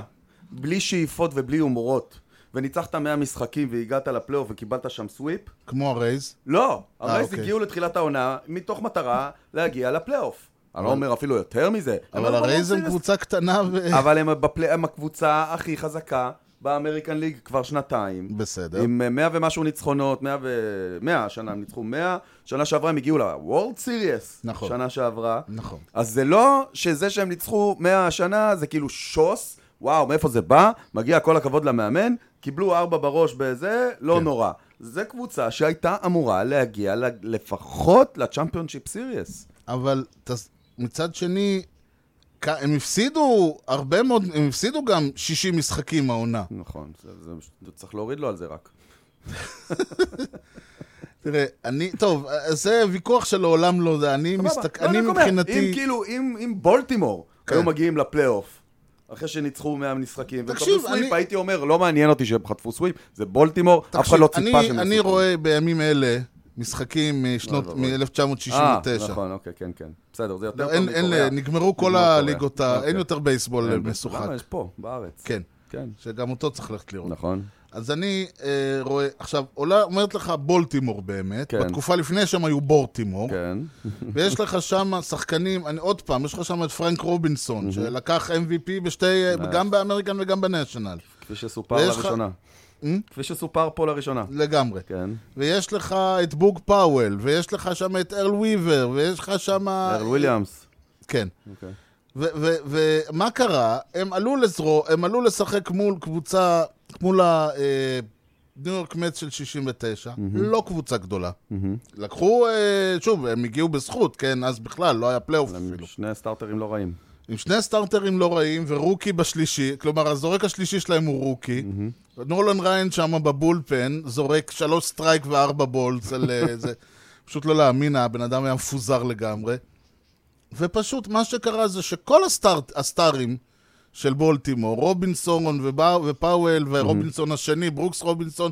[SPEAKER 2] בלי שאיפות ובלי הומורות, וניצחת 100 משחקים והגעת לפלייאוף וקיבלת שם סוויפ,
[SPEAKER 1] כמו הרייז.
[SPEAKER 2] לא, הרייס
[SPEAKER 1] אוקיי.
[SPEAKER 2] הגיעו לתחילת העונה מתוך מטרה להגיע לפלייאוף. אני לא אומר אפילו יותר מזה. הם
[SPEAKER 1] אבל
[SPEAKER 2] לא
[SPEAKER 1] הרייז הם
[SPEAKER 2] בסיריוס.
[SPEAKER 1] קבוצה קטנה ו...
[SPEAKER 2] אבל הם בפלי- הם הקבוצה הכי חזקה באמריקן ליג כבר שנתיים.
[SPEAKER 1] בסדר.
[SPEAKER 2] עם אה, 100 ומשהו ניצחונות, 100 ו... 100, השנה הם ניצחו 100, שנה שעברה הם הגיעו ל-World Series,
[SPEAKER 1] נכון.
[SPEAKER 2] שנה שעברה.
[SPEAKER 1] נכון.
[SPEAKER 2] אז זה לא שזה שהם ניצחו 100 השנה, זה כאילו שוס, וואו, מאיפה זה בא? מגיע כל הכבוד למאמן, קיבלו ארבע בראש בזה, לא
[SPEAKER 1] כן.
[SPEAKER 2] כן. נורא. זה קבוצה שהייתה אמורה להגיע ל- לפחות לצ'מפיונשיפ סיריוס.
[SPEAKER 1] אבל תס... מצד שני, כ... הם הפסידו הרבה מאוד, הם הפסידו גם 60 משחקים העונה.
[SPEAKER 2] נכון, זה, זה, זה, צריך להוריד לו על זה רק.
[SPEAKER 1] תראה, אני, טוב, אה, זה ויכוח שלעולם לא זה, אני,
[SPEAKER 2] סבבה.
[SPEAKER 1] מסתק...
[SPEAKER 2] לא,
[SPEAKER 1] אני
[SPEAKER 2] רק אומר,
[SPEAKER 1] מבחינתי...
[SPEAKER 2] אם כאילו, אם, אם בולטימור
[SPEAKER 1] כן.
[SPEAKER 2] היו מגיעים לפלייאוף, אחרי שניצחו 100 משחקים,
[SPEAKER 1] תקשיב,
[SPEAKER 2] וקבלו סוויפ,
[SPEAKER 1] אני-
[SPEAKER 2] הייתי אומר, לא מעניין אותי שהם חטפו סוויפ, זה בולטימור, אף אחד לא ציפה שהם
[SPEAKER 1] אני,
[SPEAKER 2] יעשו
[SPEAKER 1] אני
[SPEAKER 2] סוויפ.
[SPEAKER 1] רואה בימים אלה משחקים משנות,
[SPEAKER 2] אוי ואבוי.
[SPEAKER 1] מ-1969.
[SPEAKER 2] לא, אה, נכון, אוקיי, כן, כן. בסדר, זה יותר
[SPEAKER 1] לא, אין, אה,
[SPEAKER 2] טוב
[SPEAKER 1] אין,
[SPEAKER 2] מקוריאה.
[SPEAKER 1] נגמרו כל
[SPEAKER 2] מקוריאה.
[SPEAKER 1] הליגות, ה...
[SPEAKER 2] אוקיי.
[SPEAKER 1] אין יותר בייסבול
[SPEAKER 2] אין,
[SPEAKER 1] משוחק.
[SPEAKER 2] למה? יש פה, בארץ.
[SPEAKER 1] כן,
[SPEAKER 2] כן.
[SPEAKER 1] שגם אותו צריך ללכת לראות.
[SPEAKER 2] נכון.
[SPEAKER 1] אז אני אה, רואה, עכשיו, עולה, אומרת לך בולטימור באמת,
[SPEAKER 2] כן.
[SPEAKER 1] בתקופה לפני שהם היו בורטימור,
[SPEAKER 2] כן.
[SPEAKER 1] ויש לך שם שחקנים, אני, עוד פעם, יש לך שם את פרנק רובינסון, שלקח MVP בשתי, גם באמריקן וגם בנשיונל.
[SPEAKER 2] כפי שסופר
[SPEAKER 1] ויש לך- אה?
[SPEAKER 2] לראשונה. כפי שסופר פה לראשונה.
[SPEAKER 1] לגמרי.
[SPEAKER 2] כן.
[SPEAKER 1] ויש לך את בוג פאוול, ויש לך שם את ארל וויבר, ויש לך שם...
[SPEAKER 2] ארל וויליאמס.
[SPEAKER 1] כן.
[SPEAKER 2] אוקיי.
[SPEAKER 1] ומה קרה? הם עלו לזרוע, הם עלו לשחק מול קבוצה, מול הניו יורק מצ של 69, לא קבוצה גדולה. לקחו, אה, שוב, הם הגיעו בזכות, כן, אז בכלל, לא היה פלייאוף אפילו.
[SPEAKER 2] שני סטארטרים לא רעים.
[SPEAKER 1] עם שני סטארטרים לא רעים ורוקי בשלישי, כלומר, הזורק השלישי שלהם הוא רוקי. נורלן ריין שם בבולפן, זורק שלוש סטרייק וארבע בולס על אה, זה. פשוט לא להאמין, הבן אדם היה מפוזר לגמרי. ופשוט מה שקרה זה שכל הסטארט, הסטארים של בולטימור, רובינסון ובא- ופאוול ורובינסון השני, ברוקס רובינסון,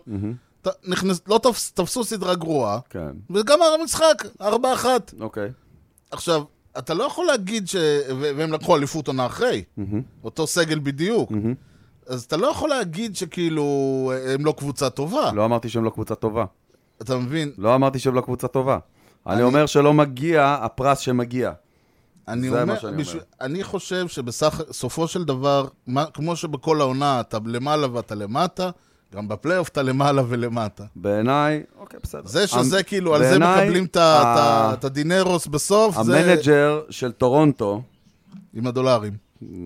[SPEAKER 1] ת- נכנס, לא תפס, תפסו סדרה גרועה,
[SPEAKER 2] כן.
[SPEAKER 1] וגמר המשחק, ארבע אחת.
[SPEAKER 2] אוקיי.
[SPEAKER 1] עכשיו, אתה לא יכול להגיד ש... ו- והם לקחו אליפות עונה אחרי, אותו סגל בדיוק. אז אתה לא יכול להגיד שכאילו הם לא קבוצה טובה,
[SPEAKER 2] לא אמרתי שהם לא קבוצה טובה.
[SPEAKER 1] אתה מבין?
[SPEAKER 2] לא אמרתי שהם לא קבוצה טובה. אני אומר שלא מגיע הפרס שמגיע.
[SPEAKER 1] אני
[SPEAKER 2] זה
[SPEAKER 1] אומר,
[SPEAKER 2] מה שאני אומר.
[SPEAKER 1] בשביל- אני חושב שבסופו של דבר, מה, כמו שבכל העונה אתה למעלה ואתה למטה, גם בפלייאוף אתה למעלה ולמטה.
[SPEAKER 2] בעיניי, אוקיי, בסדר.
[SPEAKER 1] זה שזה
[SPEAKER 2] המ-
[SPEAKER 1] כאילו, על זה
[SPEAKER 2] בעיניי,
[SPEAKER 1] מקבלים את
[SPEAKER 2] ה-
[SPEAKER 1] ה- את ה- את הדינרוס בסוף, זה
[SPEAKER 2] המנג'ר של טורונטו,
[SPEAKER 1] עם הדולרים.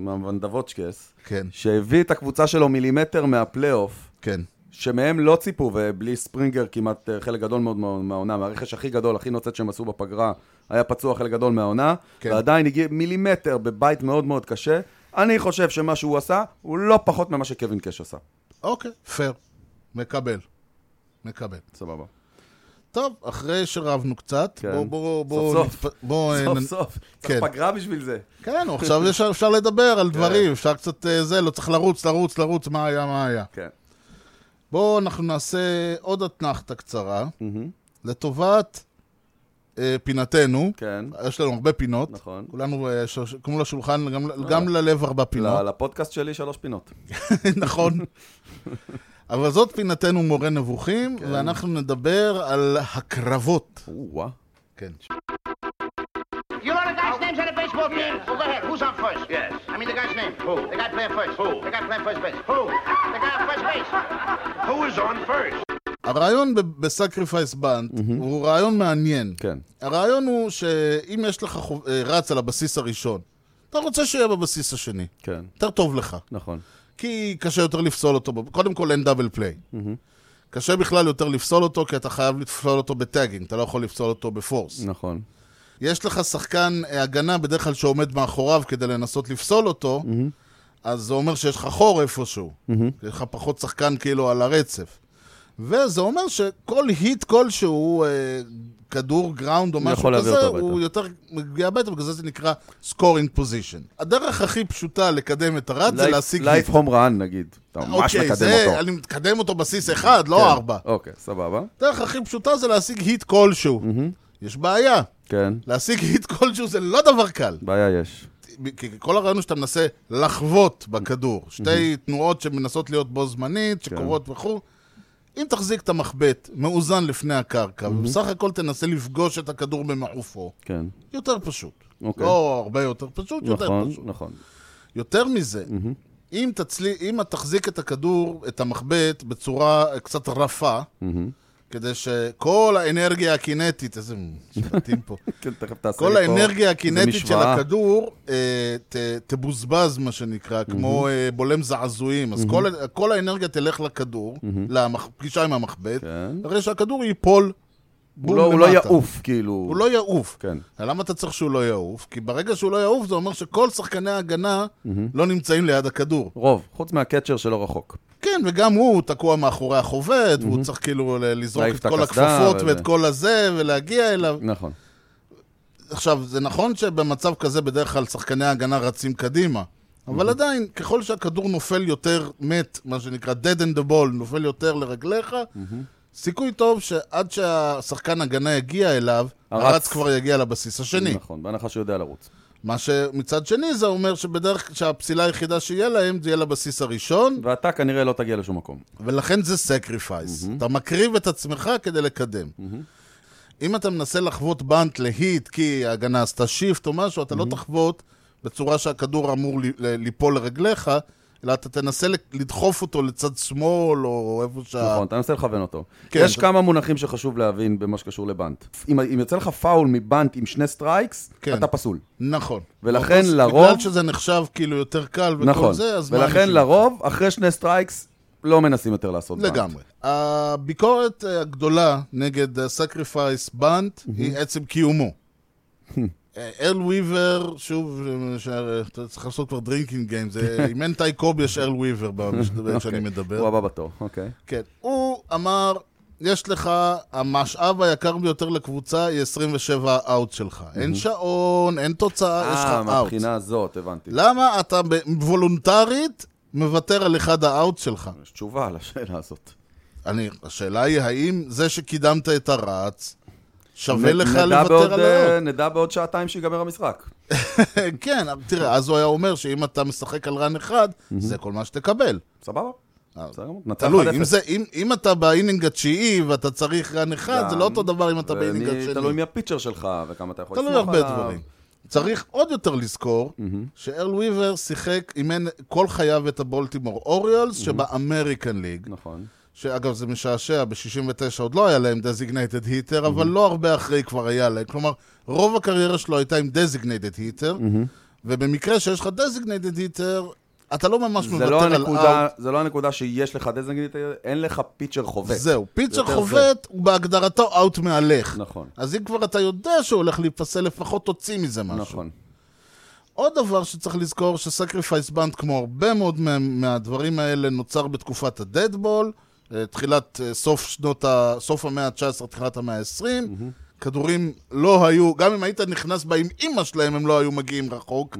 [SPEAKER 2] ונדבוצ'קס,
[SPEAKER 1] כן,
[SPEAKER 2] שהביא את הקבוצה שלו מילימטר מהפלייאוף,
[SPEAKER 1] כן.
[SPEAKER 2] שמהם לא ציפו, ובלי ספרינגר כמעט אה, חלק גדול מאוד מה- מהעונה, מהרכש הכי גדול, הכי נוצץ שהם עשו בפגרה, היה פצוע חלק גדול מהעונה,
[SPEAKER 1] כן.
[SPEAKER 2] ועדיין הגיע מילימטר בבית מאוד מאוד קשה. אני חושב שמה שהוא עשה, הוא לא פחות ממה שקווין קאש עשה.
[SPEAKER 1] אוקיי, פייר. מקבל. מקבל.
[SPEAKER 2] סבבה.
[SPEAKER 1] טוב, אחרי שרבנו קצת,
[SPEAKER 2] כן.
[SPEAKER 1] בואו... בואו... בואו...
[SPEAKER 2] סוף סוף.
[SPEAKER 1] בואו...
[SPEAKER 2] סוף סוף,
[SPEAKER 1] כן.
[SPEAKER 2] צריך פגרה בשביל זה.
[SPEAKER 1] כן, נו, עכשיו יש- אפשר לדבר
[SPEAKER 2] כן.
[SPEAKER 1] על דברים, אפשר קצת אה, זה, לא צריך לרוץ, לרוץ, לרוץ, מה היה, מה היה.
[SPEAKER 2] כן.
[SPEAKER 1] בואו אנחנו נעשה עוד אתנחתה קצרה, לטובת אה, פינתנו.
[SPEAKER 2] כן.
[SPEAKER 1] יש לנו הרבה פינות.
[SPEAKER 2] נכון. אה.
[SPEAKER 1] כולנו, אה, ש- ש- כמו לשולחן, גם ל- גם ללב ארבע פינות.
[SPEAKER 2] ל- לפודקאסט שלי שלוש פינות.
[SPEAKER 1] נכון. אבל זאת פינתנו מורה נבוכים,
[SPEAKER 2] כן.
[SPEAKER 1] ואנחנו נדבר על הקרבות.
[SPEAKER 2] או-אה.
[SPEAKER 1] כן.
[SPEAKER 5] You know the guy's names on the baseball team? Well, go ahead. Who's on first? Yes. I mean the guy's name. Who? The guy playing first. Who? The guy playing first base. Who? The guy on first base. Who is on first?
[SPEAKER 1] הרעיון בסקריפייס בנד הוא רעיון מעניין.
[SPEAKER 2] כן.
[SPEAKER 1] הרעיון הוא שאם יש לך חוב- אה, רץ על הבסיס הראשון, אתה רוצה שיהיה בבסיס השני.
[SPEAKER 2] כן.
[SPEAKER 1] יותר טוב לך.
[SPEAKER 2] נכון.
[SPEAKER 1] כי קשה יותר לפסול אותו. ב- קודם כל אין דאבל פליי. קשה בכלל יותר לפסול אותו, כי אתה חייב לפסול אותו בטאגינג, אתה לא יכול לפסול אותו בפורס.
[SPEAKER 2] נכון.
[SPEAKER 1] יש לך שחקן אה, הגנה בדרך כלל שעומד מאחוריו כדי לנסות לפסול אותו, אז זה אומר שיש לך חור איפשהו. יש לך פחות שחקן כאילו על הרצף. וזה אומר שכל היט כלשהו, אה, כדור גראונד או משהו
[SPEAKER 2] יכול להביא
[SPEAKER 1] כזה,
[SPEAKER 2] אותו
[SPEAKER 1] הוא
[SPEAKER 2] הביתה.
[SPEAKER 1] יותר מגיע הביתה, בגלל זה זה נקרא סקורינג פוזיישן. הדרך הכי פשוטה לקדם את הרץ זה להשיג
[SPEAKER 2] לייף
[SPEAKER 1] היט.
[SPEAKER 2] הום רן נגיד. אתה ממש
[SPEAKER 1] אוקיי,
[SPEAKER 2] מקדם
[SPEAKER 1] זה,
[SPEAKER 2] אותו.
[SPEAKER 1] אני מקדם אותו בסיס אחד, לא ארבע.
[SPEAKER 2] אוקיי, סבבה.
[SPEAKER 1] הדרך הכי פשוטה זה להשיג היט כלשהו. יש בעיה.
[SPEAKER 2] כן.
[SPEAKER 1] להשיג היט כלשהו זה לא דבר קל.
[SPEAKER 2] בעיה יש.
[SPEAKER 1] כי כל הרעיון הוא שאתה מנסה לחבוט
[SPEAKER 2] Mhm.
[SPEAKER 1] בכדור. שתי תנועות שמנסות להיות בו זמנית,
[SPEAKER 2] כן.
[SPEAKER 1] שקורות וכו'. אם תחזיק את המחבט מאוזן לפני
[SPEAKER 2] Mhm.
[SPEAKER 1] הקרקע, ובסך הכל תנסה לפגוש את הכדור במעופו,
[SPEAKER 2] כן.
[SPEAKER 1] יותר פשוט.
[SPEAKER 2] אוקיי.
[SPEAKER 1] לא הרבה יותר פשוט, יותר
[SPEAKER 2] נכון, Mhm.
[SPEAKER 1] פשוט.
[SPEAKER 2] נכון.
[SPEAKER 1] יותר מזה, אם תצלי- אם את תחזיק את הכדור, את המחבט, בצורה קצת רפה,
[SPEAKER 2] Mhm.
[SPEAKER 1] כדי שכל האנרגיה הקינטית, איזה משפטים פה,
[SPEAKER 2] כן, תכף תעשה
[SPEAKER 1] כל
[SPEAKER 2] לי פה
[SPEAKER 1] האנרגיה
[SPEAKER 2] איזה
[SPEAKER 1] הקינטית של
[SPEAKER 2] משוואה.
[SPEAKER 1] הכדור אה, ת- תבוזבז, מה שנקרא, כמו אה, בולם זעזועים. אז כל ה- כל האנרגיה תלך לכדור, לפגישה עם המחבט,
[SPEAKER 2] כן.
[SPEAKER 1] הרי שהכדור ייפול
[SPEAKER 2] הוא
[SPEAKER 1] בום
[SPEAKER 2] לא- הוא לא
[SPEAKER 1] למטה.
[SPEAKER 2] יעוף, כאילו.
[SPEAKER 1] הוא לא יעוף.
[SPEAKER 2] כן.
[SPEAKER 1] למה אתה צריך שהוא לא יעוף? כי ברגע שהוא לא יעוף, זה אומר שכל שחקני ההגנה לא נמצאים ליד הכדור.
[SPEAKER 2] רוב, חוץ מהקצ'ר שלא רחוק.
[SPEAKER 1] כן, וגם הוא תקוע מאחורי החובט, והוא צריך כאילו ל- לזרוק
[SPEAKER 2] להעיף
[SPEAKER 1] את
[SPEAKER 2] את
[SPEAKER 1] כל
[SPEAKER 2] הקסדה
[SPEAKER 1] הכפפות
[SPEAKER 2] וזה.
[SPEAKER 1] ואת כל הזה, ולהגיע אליו.
[SPEAKER 2] נכון.
[SPEAKER 1] עכשיו, זה נכון שבמצב כזה בדרך כלל שחקני ההגנה רצים קדימה, אבל עדיין, ככל שהכדור נופל יותר מת, מה שנקרא dead in the ball, נופל יותר לרגליך, סיכוי טוב שעד שהשחקן הגנה יגיע אליו,
[SPEAKER 2] הרץ.
[SPEAKER 1] הרץ כבר יגיע לבסיס השני.
[SPEAKER 2] נכון, בהנחה שהוא יודע לרוץ.
[SPEAKER 1] מה שמצד שני זה אומר שבדרך כלל שהפסילה היחידה שיהיה להם זה יהיה לבסיס הראשון,
[SPEAKER 2] ואתה כנראה לא תגיע לשום מקום.
[SPEAKER 1] ולכן זה סקריפייס. אתה מקריב את עצמך כדי לקדם. אם אתה מנסה לחוות בנט להיט כי ההגנה עשתה שיפט או משהו, אתה לא תחוות בצורה שהכדור אמור ל- ל- ליפול לרגליך, אלא אתה תנסה לדחוף אותו לצד שמאל, או איפה שה...
[SPEAKER 2] נכון, אתה מנסה לכוון אותו.
[SPEAKER 1] כן,
[SPEAKER 2] יש
[SPEAKER 1] זה-
[SPEAKER 2] כמה מונחים שחשוב להבין במה שקשור לבנט. אם אם יוצא לך פאול מבנט עם שני סטרייקס,
[SPEAKER 1] כן.
[SPEAKER 2] אתה פסול.
[SPEAKER 1] נכון.
[SPEAKER 2] ולכן
[SPEAKER 1] אבל
[SPEAKER 2] לרוב-
[SPEAKER 1] בגלל שזה נחשב כאילו יותר קל וכל
[SPEAKER 2] נכון.
[SPEAKER 1] זה, אז... מה
[SPEAKER 2] ולכן
[SPEAKER 1] אנשים-
[SPEAKER 2] לרוב, אחרי שני סטרייקס, לא מנסים יותר לעשות בנט.
[SPEAKER 1] לגמרי. הביקורת אה, הגדולה נגד הסקריפייס בנט
[SPEAKER 2] Mhm.
[SPEAKER 1] היא עצם קיומו.
[SPEAKER 2] Hmm.
[SPEAKER 1] אה, ארל וויבר, שוב, אה, ש- אה, אתה צריך לעשות כבר דרינקינג גיים, זה- אם אין טי קוב יש ארל וויבר במשדבר שאני
[SPEAKER 2] אוקיי.
[SPEAKER 1] מדבר.
[SPEAKER 2] הוא הבא בתור, אוקיי.
[SPEAKER 1] כן. הוא אמר, יש לך, המשאב היקר ביותר לקבוצה היא 27 אאוט שלך. אין שעון, אין תוצאה, יש
[SPEAKER 2] Mhm. אה,
[SPEAKER 1] לך אאוט. לא.
[SPEAKER 2] מהבחינה הזאת, הבנתי.
[SPEAKER 1] למה אתה ב- וולונטרית מוותר על אחד האאוט שלך?
[SPEAKER 2] יש תשובה לשאלה הזאת.
[SPEAKER 1] אני, השאלה היא, האם זה שקידמת את הרץ, שווה
[SPEAKER 2] נ-
[SPEAKER 1] לך
[SPEAKER 2] נדע בעוד,
[SPEAKER 1] לוותר על
[SPEAKER 2] אה,
[SPEAKER 1] האאוט?
[SPEAKER 2] נדע בעוד שעתיים שיגמר המשחק.
[SPEAKER 1] כן, אבל תראה, אז הוא היה אומר שאם אתה משחק על רן אחד, זה כל מה שתקבל.
[SPEAKER 2] סבבה? בסדר גמור. נצח
[SPEAKER 1] אה, תלוי,
[SPEAKER 2] 1-0.
[SPEAKER 1] אם זה- אם- אם אתה באינינג התשיעי ואתה צריך רן אחד, זה לא
[SPEAKER 2] גם,
[SPEAKER 1] אותו דבר אם אתה
[SPEAKER 2] ואני-
[SPEAKER 1] באינינג השני.
[SPEAKER 2] תלוי מי הפיצ'ר שלך וכמה אתה יכול
[SPEAKER 1] תלוי
[SPEAKER 2] לסמוך
[SPEAKER 1] הרבה
[SPEAKER 2] עליו.
[SPEAKER 1] דברים. צריך עוד יותר לזכור שארל וויבר שיחק, אימן כל חייו את הבולטימור אוריולס שבאמריקן ליג,
[SPEAKER 2] נכון.
[SPEAKER 1] שאגב זה משעשע, ב-69 עוד לא היה להם דזיגנייטד היטר, אבל לא הרבה אחרי כבר היה להם. כלומר, רוב הקריירה שלו הייתה עם דזיגנייטד היטר, ובמקרה שיש לך דזיגנייטד היטר, אתה לא ממש
[SPEAKER 2] זה לא,
[SPEAKER 1] מוותר על
[SPEAKER 2] הנקודה,
[SPEAKER 1] אאוט.
[SPEAKER 2] זה לא הנקודה שיש לך דזנגנית, אין לך פיצ'ר חובט.
[SPEAKER 1] זהו, פיצ'ר
[SPEAKER 2] יותר זה.
[SPEAKER 1] חובט הוא בהגדרתו אאוט מהלך.
[SPEAKER 2] נכון.
[SPEAKER 1] אז אם כבר אתה יודע שהוא הולך להיפסל, לפחות תוציא מזה משהו.
[SPEAKER 2] נכון.
[SPEAKER 1] עוד דבר שצריך לזכור, שסקריפייס בנד, כמו הרבה מאוד מה, מהדברים האלה, נוצר בתקופת הדדבול, אה, תחילת, אה, סוף שנות ה... סוף המאה ה-19, תחילת המאה ה-20. כדורים לא היו, גם אם היית נכנס בה עם אימא שלהם, הם לא היו מגיעים רחוק.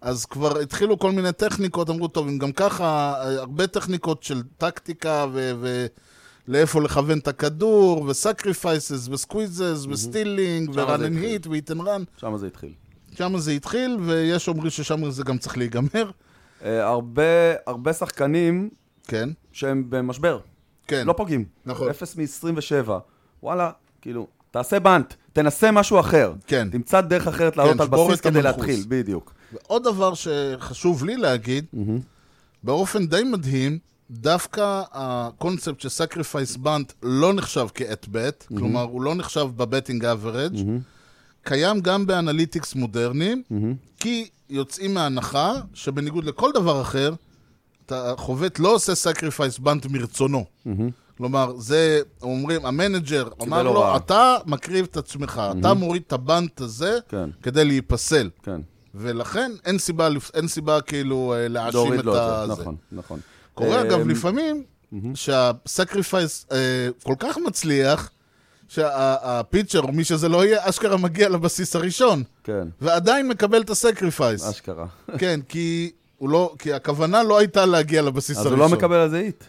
[SPEAKER 1] אז כבר התחילו כל מיני טכניקות, אמרו, טוב, אם גם ככה, אה, הרבה טכניקות של טקטיקה ו... ו... לאיפה לכוון את הכדור, וסקריפייסס, וסקוויזס, וסטילינג,
[SPEAKER 2] זה
[SPEAKER 1] ורן אנד
[SPEAKER 2] התחיל.
[SPEAKER 1] היט, ואיט אנד רן.
[SPEAKER 2] שם זה התחיל.
[SPEAKER 1] שם זה התחיל, ויש אומרים ששם זה גם צריך להיגמר.
[SPEAKER 2] אה, הרבה, הרבה שחקנים
[SPEAKER 1] כן,
[SPEAKER 2] שהם במשבר.
[SPEAKER 1] כן.
[SPEAKER 2] לא פוגעים.
[SPEAKER 1] נכון.
[SPEAKER 2] אפס מ-27. וואלה, כאילו, תעשה בנט, תנסה משהו אחר.
[SPEAKER 1] כן.
[SPEAKER 2] תמצא דרך אחרת לעלות על
[SPEAKER 1] שבור
[SPEAKER 2] בסיס
[SPEAKER 1] את
[SPEAKER 2] כדי
[SPEAKER 1] המנחוס.
[SPEAKER 2] להתחיל, בדיוק.
[SPEAKER 1] עוד דבר שחשוב לי להגיד, באופן די מדהים, דווקא הקונספט של סקריפייס בנט לא נחשב כ-at bet, כלומר, הוא לא נחשב בבטינג אברג', קיים גם באנליטיקס מודרניים, כי יוצאים מהנחה שבניגוד לכל דבר אחר, אתה- החובט לא עושה סקריפייס בנט מרצונו. כלומר, זה, אומרים, המנג'ר אמר לו,
[SPEAKER 2] הוראה.
[SPEAKER 1] אתה מקריב את עצמך, אתה מוריד את הבנט הזה
[SPEAKER 2] כן.
[SPEAKER 1] כדי להיפסל.
[SPEAKER 2] כן.
[SPEAKER 1] ולכן אין סיבה, לפ- אין סיבה כאילו אה, להאשים
[SPEAKER 2] להוריד
[SPEAKER 1] את
[SPEAKER 2] לו
[SPEAKER 1] ה...
[SPEAKER 2] את זה.
[SPEAKER 1] זה.
[SPEAKER 2] נכון, נכון.
[SPEAKER 1] קורה אגב
[SPEAKER 2] אמ,
[SPEAKER 1] לפעמים שהסקריפייס אה, כל כך מצליח, שהפיצ'ר, או מי שזה לא יהיה, אשכרה מגיע לבסיס הראשון,
[SPEAKER 2] כן,
[SPEAKER 1] ועדיין מקבל את הסקריפייס.
[SPEAKER 2] אשכרה.
[SPEAKER 1] כן, כי... הוא לא, כי הכוונה לא הייתה להגיע לבסיס
[SPEAKER 2] אז
[SPEAKER 1] הראשון.
[SPEAKER 2] הוא לא מקבל על זה איט.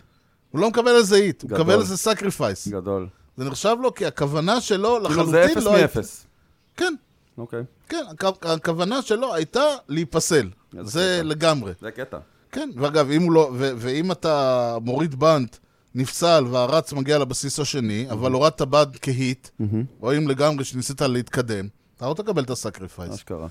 [SPEAKER 1] הוא לא מקבל על זה איט, הוא
[SPEAKER 2] גדול.
[SPEAKER 1] מקבל על זה סקריפייס.
[SPEAKER 2] גדול.
[SPEAKER 1] זה נחשב לו כי הכוונה שלו לחלוטין
[SPEAKER 2] כאילו
[SPEAKER 1] לא
[SPEAKER 2] זה
[SPEAKER 1] הייתה...
[SPEAKER 2] אפס מאפס.
[SPEAKER 1] כן,
[SPEAKER 2] אוקיי.
[SPEAKER 1] כן, הכ- הכוונה שלו הייתה להיפסל.
[SPEAKER 2] איזה
[SPEAKER 1] זה
[SPEAKER 2] קטע.
[SPEAKER 1] לגמרי.
[SPEAKER 2] זה הקטע.
[SPEAKER 1] כן, ואגב, אם הוא לא, ו- ואם אתה מוריד בנט, נפסל והרץ מגיע לבסיס השני, אבל הורדת בנט כהיט, רואים לגמרי שניסית להתקדם, אתה לא תקבל את הסקריפייס.
[SPEAKER 2] אשכרה.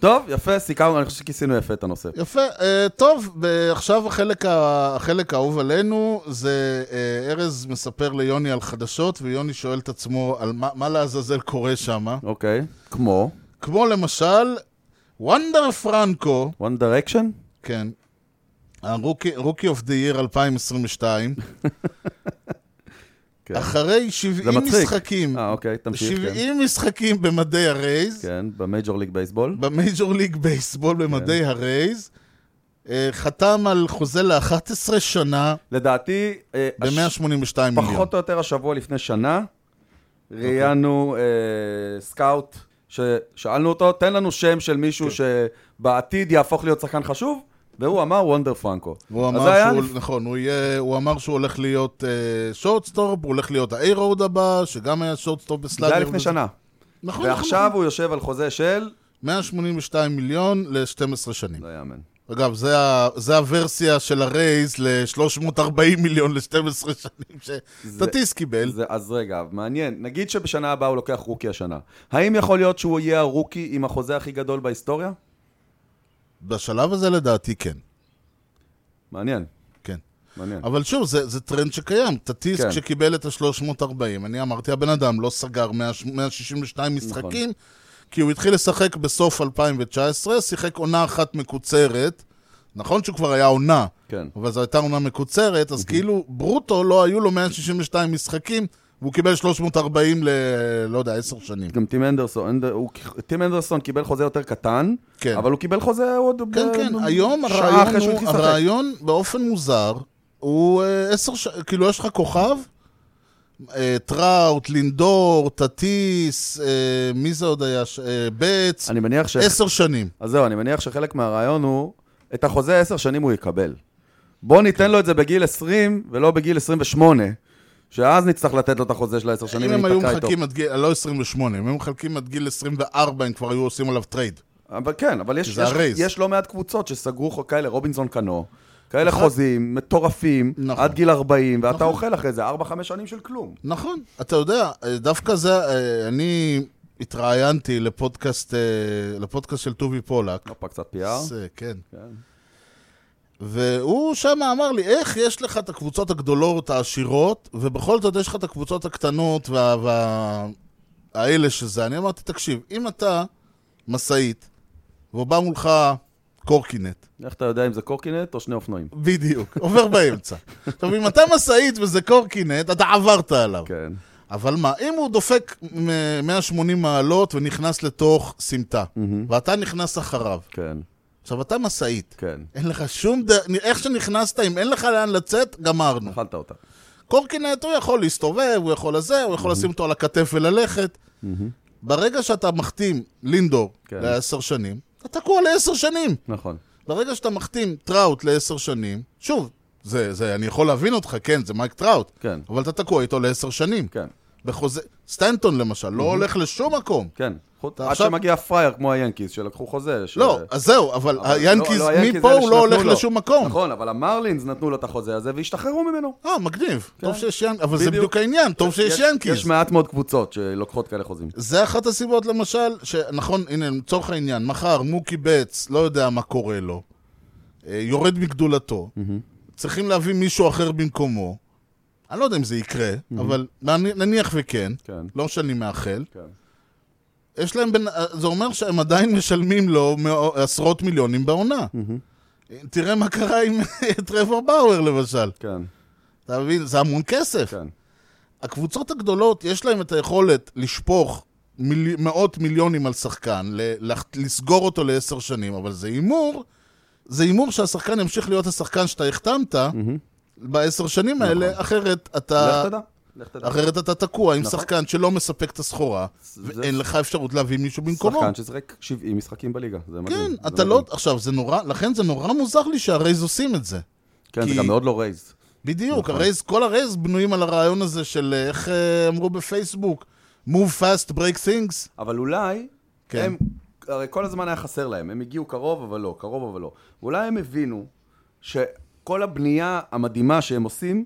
[SPEAKER 2] טוב, יפה, סיכמנו, אני חושב שכיסינו יפה את הנושא.
[SPEAKER 1] יפה, אה, טוב, עכשיו החלק, ה- החלק האהוב עלינו זה אה, ארז מספר ליוני על חדשות, ויוני שואל את עצמו על מה, מה לעזאזל קורה שם.
[SPEAKER 2] אוקיי. כמו?
[SPEAKER 1] כמו למשל, וונדר פרנקו,
[SPEAKER 2] One Direction?
[SPEAKER 1] כן. הרוקי אוף דה ייר 2022.
[SPEAKER 2] כן.
[SPEAKER 1] אחרי 70
[SPEAKER 2] מצחיק.
[SPEAKER 1] משחקים,
[SPEAKER 2] אה, אוקיי, תמשיך, כן.
[SPEAKER 1] 70 משחקים במדי הרייז,
[SPEAKER 2] כן, במייג'ור ליג בייסבול.
[SPEAKER 1] במייג'ור ליג בייסבול במדי הרייז, אה, חתם על חוזה ל-11 שנה
[SPEAKER 2] לדעתי, אה, הש-
[SPEAKER 1] ב-182 מיליון. אוקיי.
[SPEAKER 2] פחות או יותר השבוע לפני שנה, ראיינו אה, סקאוט, ששאלנו אותו, תן לנו שם של מישהו
[SPEAKER 1] כן.
[SPEAKER 2] שבעתיד יהפוך להיות שחקן חשוב, והוא אמר וונדר פרנקו.
[SPEAKER 1] הוא
[SPEAKER 2] אז זה
[SPEAKER 1] אמר
[SPEAKER 2] היה
[SPEAKER 1] שהוא,
[SPEAKER 2] לפ-
[SPEAKER 1] נכון, הוא יהיה- הוא אמר שהוא הולך להיות שורטסטופ, הוא הולך להיות האיירוד הבא, שגם היה שורטסטופ
[SPEAKER 2] זה
[SPEAKER 1] בסלאגר.
[SPEAKER 2] היה לפני
[SPEAKER 1] וזה-
[SPEAKER 2] שנה.
[SPEAKER 1] נכון, נכון,
[SPEAKER 2] ועכשיו
[SPEAKER 1] נכון.
[SPEAKER 2] הוא יושב על חוזה של...
[SPEAKER 1] 182 מיליון ל-12 שנים.
[SPEAKER 2] לא יאמן.
[SPEAKER 1] אגב, זה, ה, זה הוורסיה של הרייז ל-340 מיליון ל-12 שנים שטטיס קיבל.
[SPEAKER 2] זה- אז רגע, מעניין. נגיד שבשנה הבאה הוא לוקח רוקי השנה. האם יכול להיות שהוא יהיה הרוקי עם החוזה הכי גדול בהיסטוריה?
[SPEAKER 1] בשלב הזה לדעתי כן.
[SPEAKER 2] מעניין,
[SPEAKER 1] כן.
[SPEAKER 2] מעניין.
[SPEAKER 1] אבל שוב, זה, זה טרנד שקיים. טטיס,
[SPEAKER 2] כן.
[SPEAKER 1] כן. כשקיבל את ה-340, אני אמרתי, הבן אדם לא סגר 100, 162
[SPEAKER 2] נכון.
[SPEAKER 1] משחקים, כי הוא התחיל לשחק בסוף 2019, שיחק עונה אחת מקוצרת. נכון שהוא כבר היה עונה,
[SPEAKER 2] כן. Mhm.
[SPEAKER 1] אבל זו הייתה עונה מקוצרת, אז כאילו ברוטו לא היו לו 162 משחקים, והוא קיבל 340 ל... לא יודע, 10 שנים.
[SPEAKER 2] גם טים אנדרסון, אנד- הוא- טים אנדרסון קיבל חוזה יותר קטן,
[SPEAKER 1] כן.
[SPEAKER 2] אבל הוא קיבל חוזה עוד
[SPEAKER 1] כן,
[SPEAKER 2] ב-
[SPEAKER 1] כן, היום
[SPEAKER 2] שעה
[SPEAKER 1] הרעיון
[SPEAKER 2] אחרי שהוא
[SPEAKER 1] הוא,
[SPEAKER 2] התחיל לשחק.
[SPEAKER 1] הרעיון באופן מוזר, הוא אה, עשר ש... כאילו, יש לך כוכב, אה, טראוט, לינדור, טטיס, אה, מי זה עוד היה? ש- אה, בץ,
[SPEAKER 2] אני מניח ש...
[SPEAKER 1] עשר שנים.
[SPEAKER 2] אז זהו, אני מניח שחלק מהרעיון הוא, את החוזה עשר שנים הוא יקבל. בוא ניתן לו את זה בגיל 20, ולא בגיל 28, שאז נצטרך לתת לו את החוזה של העשר שנים
[SPEAKER 1] אם הם היו
[SPEAKER 2] וניתקע איתו.
[SPEAKER 1] מחכים עד גיל, לא 28, אם הם מחכים עד גיל 24, הם כבר היו עושים עליו טרייד.
[SPEAKER 2] אבל כן, אבל יש,
[SPEAKER 1] שזה
[SPEAKER 2] יש,
[SPEAKER 1] הרייז.
[SPEAKER 2] יש לא מעט קבוצות שסגרו חו- כאלה, רובינסון קנו, כאלה חוזים מטורפים,
[SPEAKER 1] נכון.
[SPEAKER 2] עד גיל 40, ואתה
[SPEAKER 1] נכון.
[SPEAKER 2] אוכל אחרי זה 4-5 שנים של כלום.
[SPEAKER 1] נכון, אתה יודע, אה, דווקא זה, אה, אני התראיינתי לפודקאסט, אה, לפודקאסט של טובי פולק.
[SPEAKER 2] נופה קצת פיאר.
[SPEAKER 1] זה, כן. והוא שם אמר לי, איך יש לך את הקבוצות הגדולות העשירות, ובכל זאת יש לך את הקבוצות הקטנות וה... וה... האלה שזה. אני אמרתי, תקשיב, אם אתה משאית, ובא מולך קורקינט,
[SPEAKER 2] איך אתה יודע אם זה קורקינט או שני אופנועים?
[SPEAKER 1] בדיוק, עובר באמצע. עכשיו, אם אתה משאית וזה קורקינט, אתה עברת עליו.
[SPEAKER 2] כן.
[SPEAKER 1] אבל מה, אם הוא דופק מ- 180 מעלות ונכנס לתוך סמטה, ואתה נכנס אחריו,
[SPEAKER 2] כן,
[SPEAKER 1] עכשיו, אתה משאית.
[SPEAKER 2] כן.
[SPEAKER 1] אין לך שום ד... איך שנכנסת, אם אין לך לאן לצאת, גמרנו.
[SPEAKER 2] אכלת אותה.
[SPEAKER 1] קורקינט, הוא יכול להסתובב, הוא יכול לזה, הוא יכול לשים אותו על הכתף וללכת. ברגע שאתה מחתים לינדור
[SPEAKER 2] כן.
[SPEAKER 1] לעשר שנים, אתה תקוע לעשר שנים.
[SPEAKER 2] נכון.
[SPEAKER 1] ברגע שאתה מחתים טראוט לעשר שנים, שוב, זה, זה, אני יכול להבין אותך, כן, זה מייק טראוט.
[SPEAKER 2] כן.
[SPEAKER 1] אבל אתה תקוע איתו לעשר שנים.
[SPEAKER 2] כן,
[SPEAKER 1] בחוזה... סטנטון למשל, לא הולך לשום מקום.
[SPEAKER 2] כן. חוץ-
[SPEAKER 1] אתה
[SPEAKER 2] עד
[SPEAKER 1] עכשיו-
[SPEAKER 2] שמגיע פראייר כמו היאנקיז, שלקחו חוזה. ש-
[SPEAKER 1] לא, אז זהו, אבל
[SPEAKER 2] אבל
[SPEAKER 1] היאנקיז,
[SPEAKER 2] לא, לא, היאנקיז
[SPEAKER 1] מפה
[SPEAKER 2] אלה
[SPEAKER 1] הוא לא
[SPEAKER 2] שנתנו
[SPEAKER 1] הולך
[SPEAKER 2] לו.
[SPEAKER 1] לשום מקום.
[SPEAKER 2] נכון, אבל המרלינס נתנו לו את החוזה הזה והשתחררו ממנו.
[SPEAKER 1] אה, מגניב. טוב שיש ינקיז, אבל זה
[SPEAKER 2] כן. בדיוק.
[SPEAKER 1] בדיוק העניין, טוב שיש
[SPEAKER 2] יש-
[SPEAKER 1] ינקיז.
[SPEAKER 2] יש מעט מאוד קבוצות שלוקחות כאלה חוזים.
[SPEAKER 1] זה אחת הסיבות, למשל, שנכון, הנה, לצורך העניין, מחר מוקי בץ, לא יודע מה קורה לו, אה, יורד מגדולתו, צריכים להביא מישהו אחר במקומו. אני לא יודע אם זה יקרה, אבל נני- נניח וכן,
[SPEAKER 2] כן.
[SPEAKER 1] לא שאני מאחל.
[SPEAKER 2] כן.
[SPEAKER 1] יש להם בין... זה אומר שהם עדיין משלמים לו מאו- עשרות מיליונים בעונה. תראה מה קרה עם טרוור באואר, למשל.
[SPEAKER 2] כן,
[SPEAKER 1] אתה מבין? זה המון כסף.
[SPEAKER 2] כן.
[SPEAKER 1] הקבוצות הגדולות, יש להן את היכולת לשפוך מיל... מאות מיליונים על שחקן, ל... לח- לסגור אותו לעשר שנים, אבל זה הימור, זה הימור שהשחקן ימשיך להיות השחקן שאתה החתמת בעשר שנים האלה, אחרת אתה...
[SPEAKER 2] נכון. לך תדע. לך תדע.
[SPEAKER 1] אה, אחרת אתה תקוע עם
[SPEAKER 2] נכון.
[SPEAKER 1] שחקן שלא מספק את הסחורה, ואין לך אפשרות להביא מישהו במקומו.
[SPEAKER 2] שחקן ששיחק 70 משחקים בליגה, זה מדהים.
[SPEAKER 1] כן,
[SPEAKER 2] זה
[SPEAKER 1] אתה לא...
[SPEAKER 2] מדהים.
[SPEAKER 1] עכשיו, זה נורא... לכן זה נורא מוזר לי שהרייז עושים את זה.
[SPEAKER 2] כן, זה
[SPEAKER 1] כי-
[SPEAKER 2] גם מאוד לא רייז.
[SPEAKER 1] בדיוק,
[SPEAKER 2] נכון.
[SPEAKER 1] הרייז, כל הרייז בנויים על הרעיון הזה של אה, איך אה, אמרו בפייסבוק, move fast, break things.
[SPEAKER 2] אבל אולי,
[SPEAKER 1] כן.
[SPEAKER 2] הם, הרי כל הזמן היה חסר להם, הם הגיעו קרוב אבל לא, קרוב אבל לא. אולי הם הבינו שכל הבנייה המדהימה שהם עושים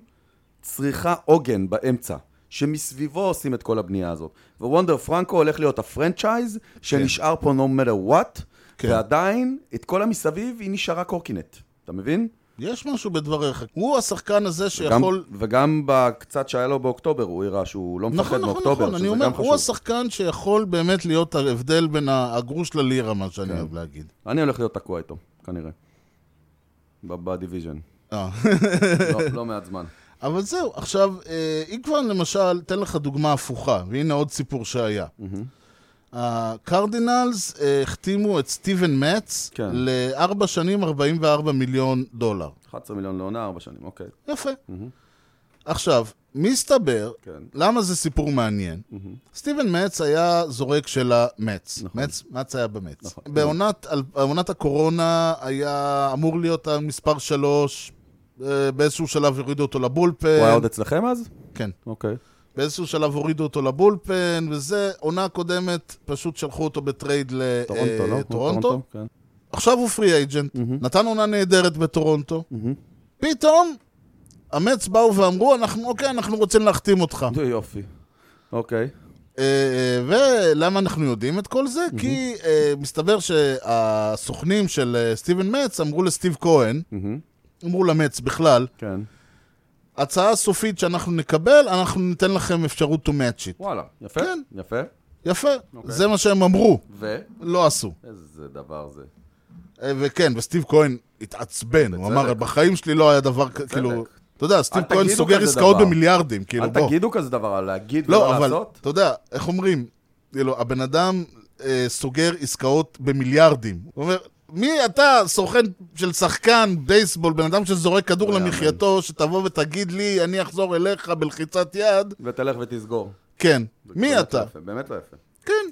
[SPEAKER 2] צריכה עוגן באמצע, שמסביבו עושים את כל הבנייה הזאת. ווונדר פרנקו הולך להיות הפרנצ'ייז שנשאר פה no matter what,
[SPEAKER 1] כן.
[SPEAKER 2] ועדיין את כל המסביב היא נשארה קורקינט, אתה מבין?
[SPEAKER 1] יש משהו בדבריך. הוא השחקן הזה שיכול...
[SPEAKER 2] גם, וגם בקצת שהיה לו באוקטובר, הוא הראה שהוא לא מפחד
[SPEAKER 1] נכון, נכון,
[SPEAKER 2] מאוקטובר,
[SPEAKER 1] נכון, אני
[SPEAKER 2] שזה
[SPEAKER 1] אומר,
[SPEAKER 2] גם חשוב.
[SPEAKER 1] הוא השחקן שיכול באמת להיות ההבדל בין הגרוש ללירה, מה
[SPEAKER 2] כן.
[SPEAKER 1] שאני אוהב להגיד.
[SPEAKER 2] אני הולך להיות תקוע איתו, כנראה. ב- בדיוויז'ן.
[SPEAKER 1] אה.
[SPEAKER 2] לא, לא מעט זמן.
[SPEAKER 1] אבל זהו, עכשיו, אה, אם כבר למשל, אתן לך דוגמה הפוכה, והנה עוד סיפור שהיה. הקרדינלס אה, החתימו את סטיבן מצ
[SPEAKER 2] כן.
[SPEAKER 1] לארבע שנים 44 מיליון דולר.
[SPEAKER 2] 11 מיליון לעונה, 4 שנים, אוקיי.
[SPEAKER 1] יפה. Mm-hmm. עכשיו, מסתבר,
[SPEAKER 2] כן. Mm-hmm.
[SPEAKER 1] למה זה סיפור מעניין? סטיבן מצ היה זורק של המץ. מצ מצ היה במץ.
[SPEAKER 2] נכון.
[SPEAKER 1] בעונת אל- בעונת הקורונה היה אמור להיות המספר שלוש, אה, באיזשהו שלב הורידו אותו
[SPEAKER 2] הוא היה
[SPEAKER 1] לבולפן.
[SPEAKER 2] עוד אצלכם אז?
[SPEAKER 1] כן.
[SPEAKER 2] אוקיי.
[SPEAKER 1] באיזשהו שלב הורידו אותו לבולפן, וזה, עונה קודמת, פשוט שלחו אותו בטרייד אה,
[SPEAKER 2] טורונטו, לא?
[SPEAKER 1] לטורונטו.
[SPEAKER 2] כן.
[SPEAKER 1] עכשיו הוא פרי אייג'נט, נתן עונה נהדרת בטורונטו. פתאום, המץ באו ואמרו, אנחנו, אוקיי, אנחנו רוצים להחתים אותך.
[SPEAKER 2] נו, יופי. אוקיי.
[SPEAKER 1] אה, אה, ולמה אנחנו יודעים את כל זה? כי אה, מסתבר שהסוכנים של אה, סטיבן מצ אמרו לסטיב כהן, אמרו למץ בכלל,
[SPEAKER 2] כן.
[SPEAKER 1] ההצעה הסופית שאנחנו נקבל, אנחנו ניתן לכם אפשרות to match it.
[SPEAKER 2] וואלה, יפה,
[SPEAKER 1] כן.
[SPEAKER 2] יפה.
[SPEAKER 1] יפה, זה מה שהם אמרו,
[SPEAKER 2] ו?
[SPEAKER 1] לא עשו.
[SPEAKER 2] איזה דבר זה.
[SPEAKER 1] אה, וכן, וסטיב כהן התעצבן, הוא אמר, בחיים שלי לא היה דבר כ- כאילו... אתה יודע, סטיב
[SPEAKER 2] אל
[SPEAKER 1] כהן
[SPEAKER 2] תגידו
[SPEAKER 1] סוגר
[SPEAKER 2] כזה
[SPEAKER 1] עסקאות
[SPEAKER 2] דבר.
[SPEAKER 1] במיליארדים, כאילו,
[SPEAKER 2] אל
[SPEAKER 1] בוא.
[SPEAKER 2] תגידו כזה דבר, על להגיד ולא
[SPEAKER 1] לא, אבל,
[SPEAKER 2] לעשות.
[SPEAKER 1] אתה יודע, איך אומרים? כאילו, הבן אדם אה, סוגר עסקאות במיליארדים. הוא אומר, מי אתה, סוכן של שחקן בייסבול, בן אדם שזורק כדור
[SPEAKER 2] לא יאמן.
[SPEAKER 1] למחייתו, שתבוא ותגיד לי, אני אחזור אליך בלחיצת יד?
[SPEAKER 2] ותלך ותסגור.
[SPEAKER 1] כן.
[SPEAKER 2] באמת
[SPEAKER 1] מי
[SPEAKER 2] לא
[SPEAKER 1] אתה?
[SPEAKER 2] יפה, באמת לא יפה.
[SPEAKER 1] כן.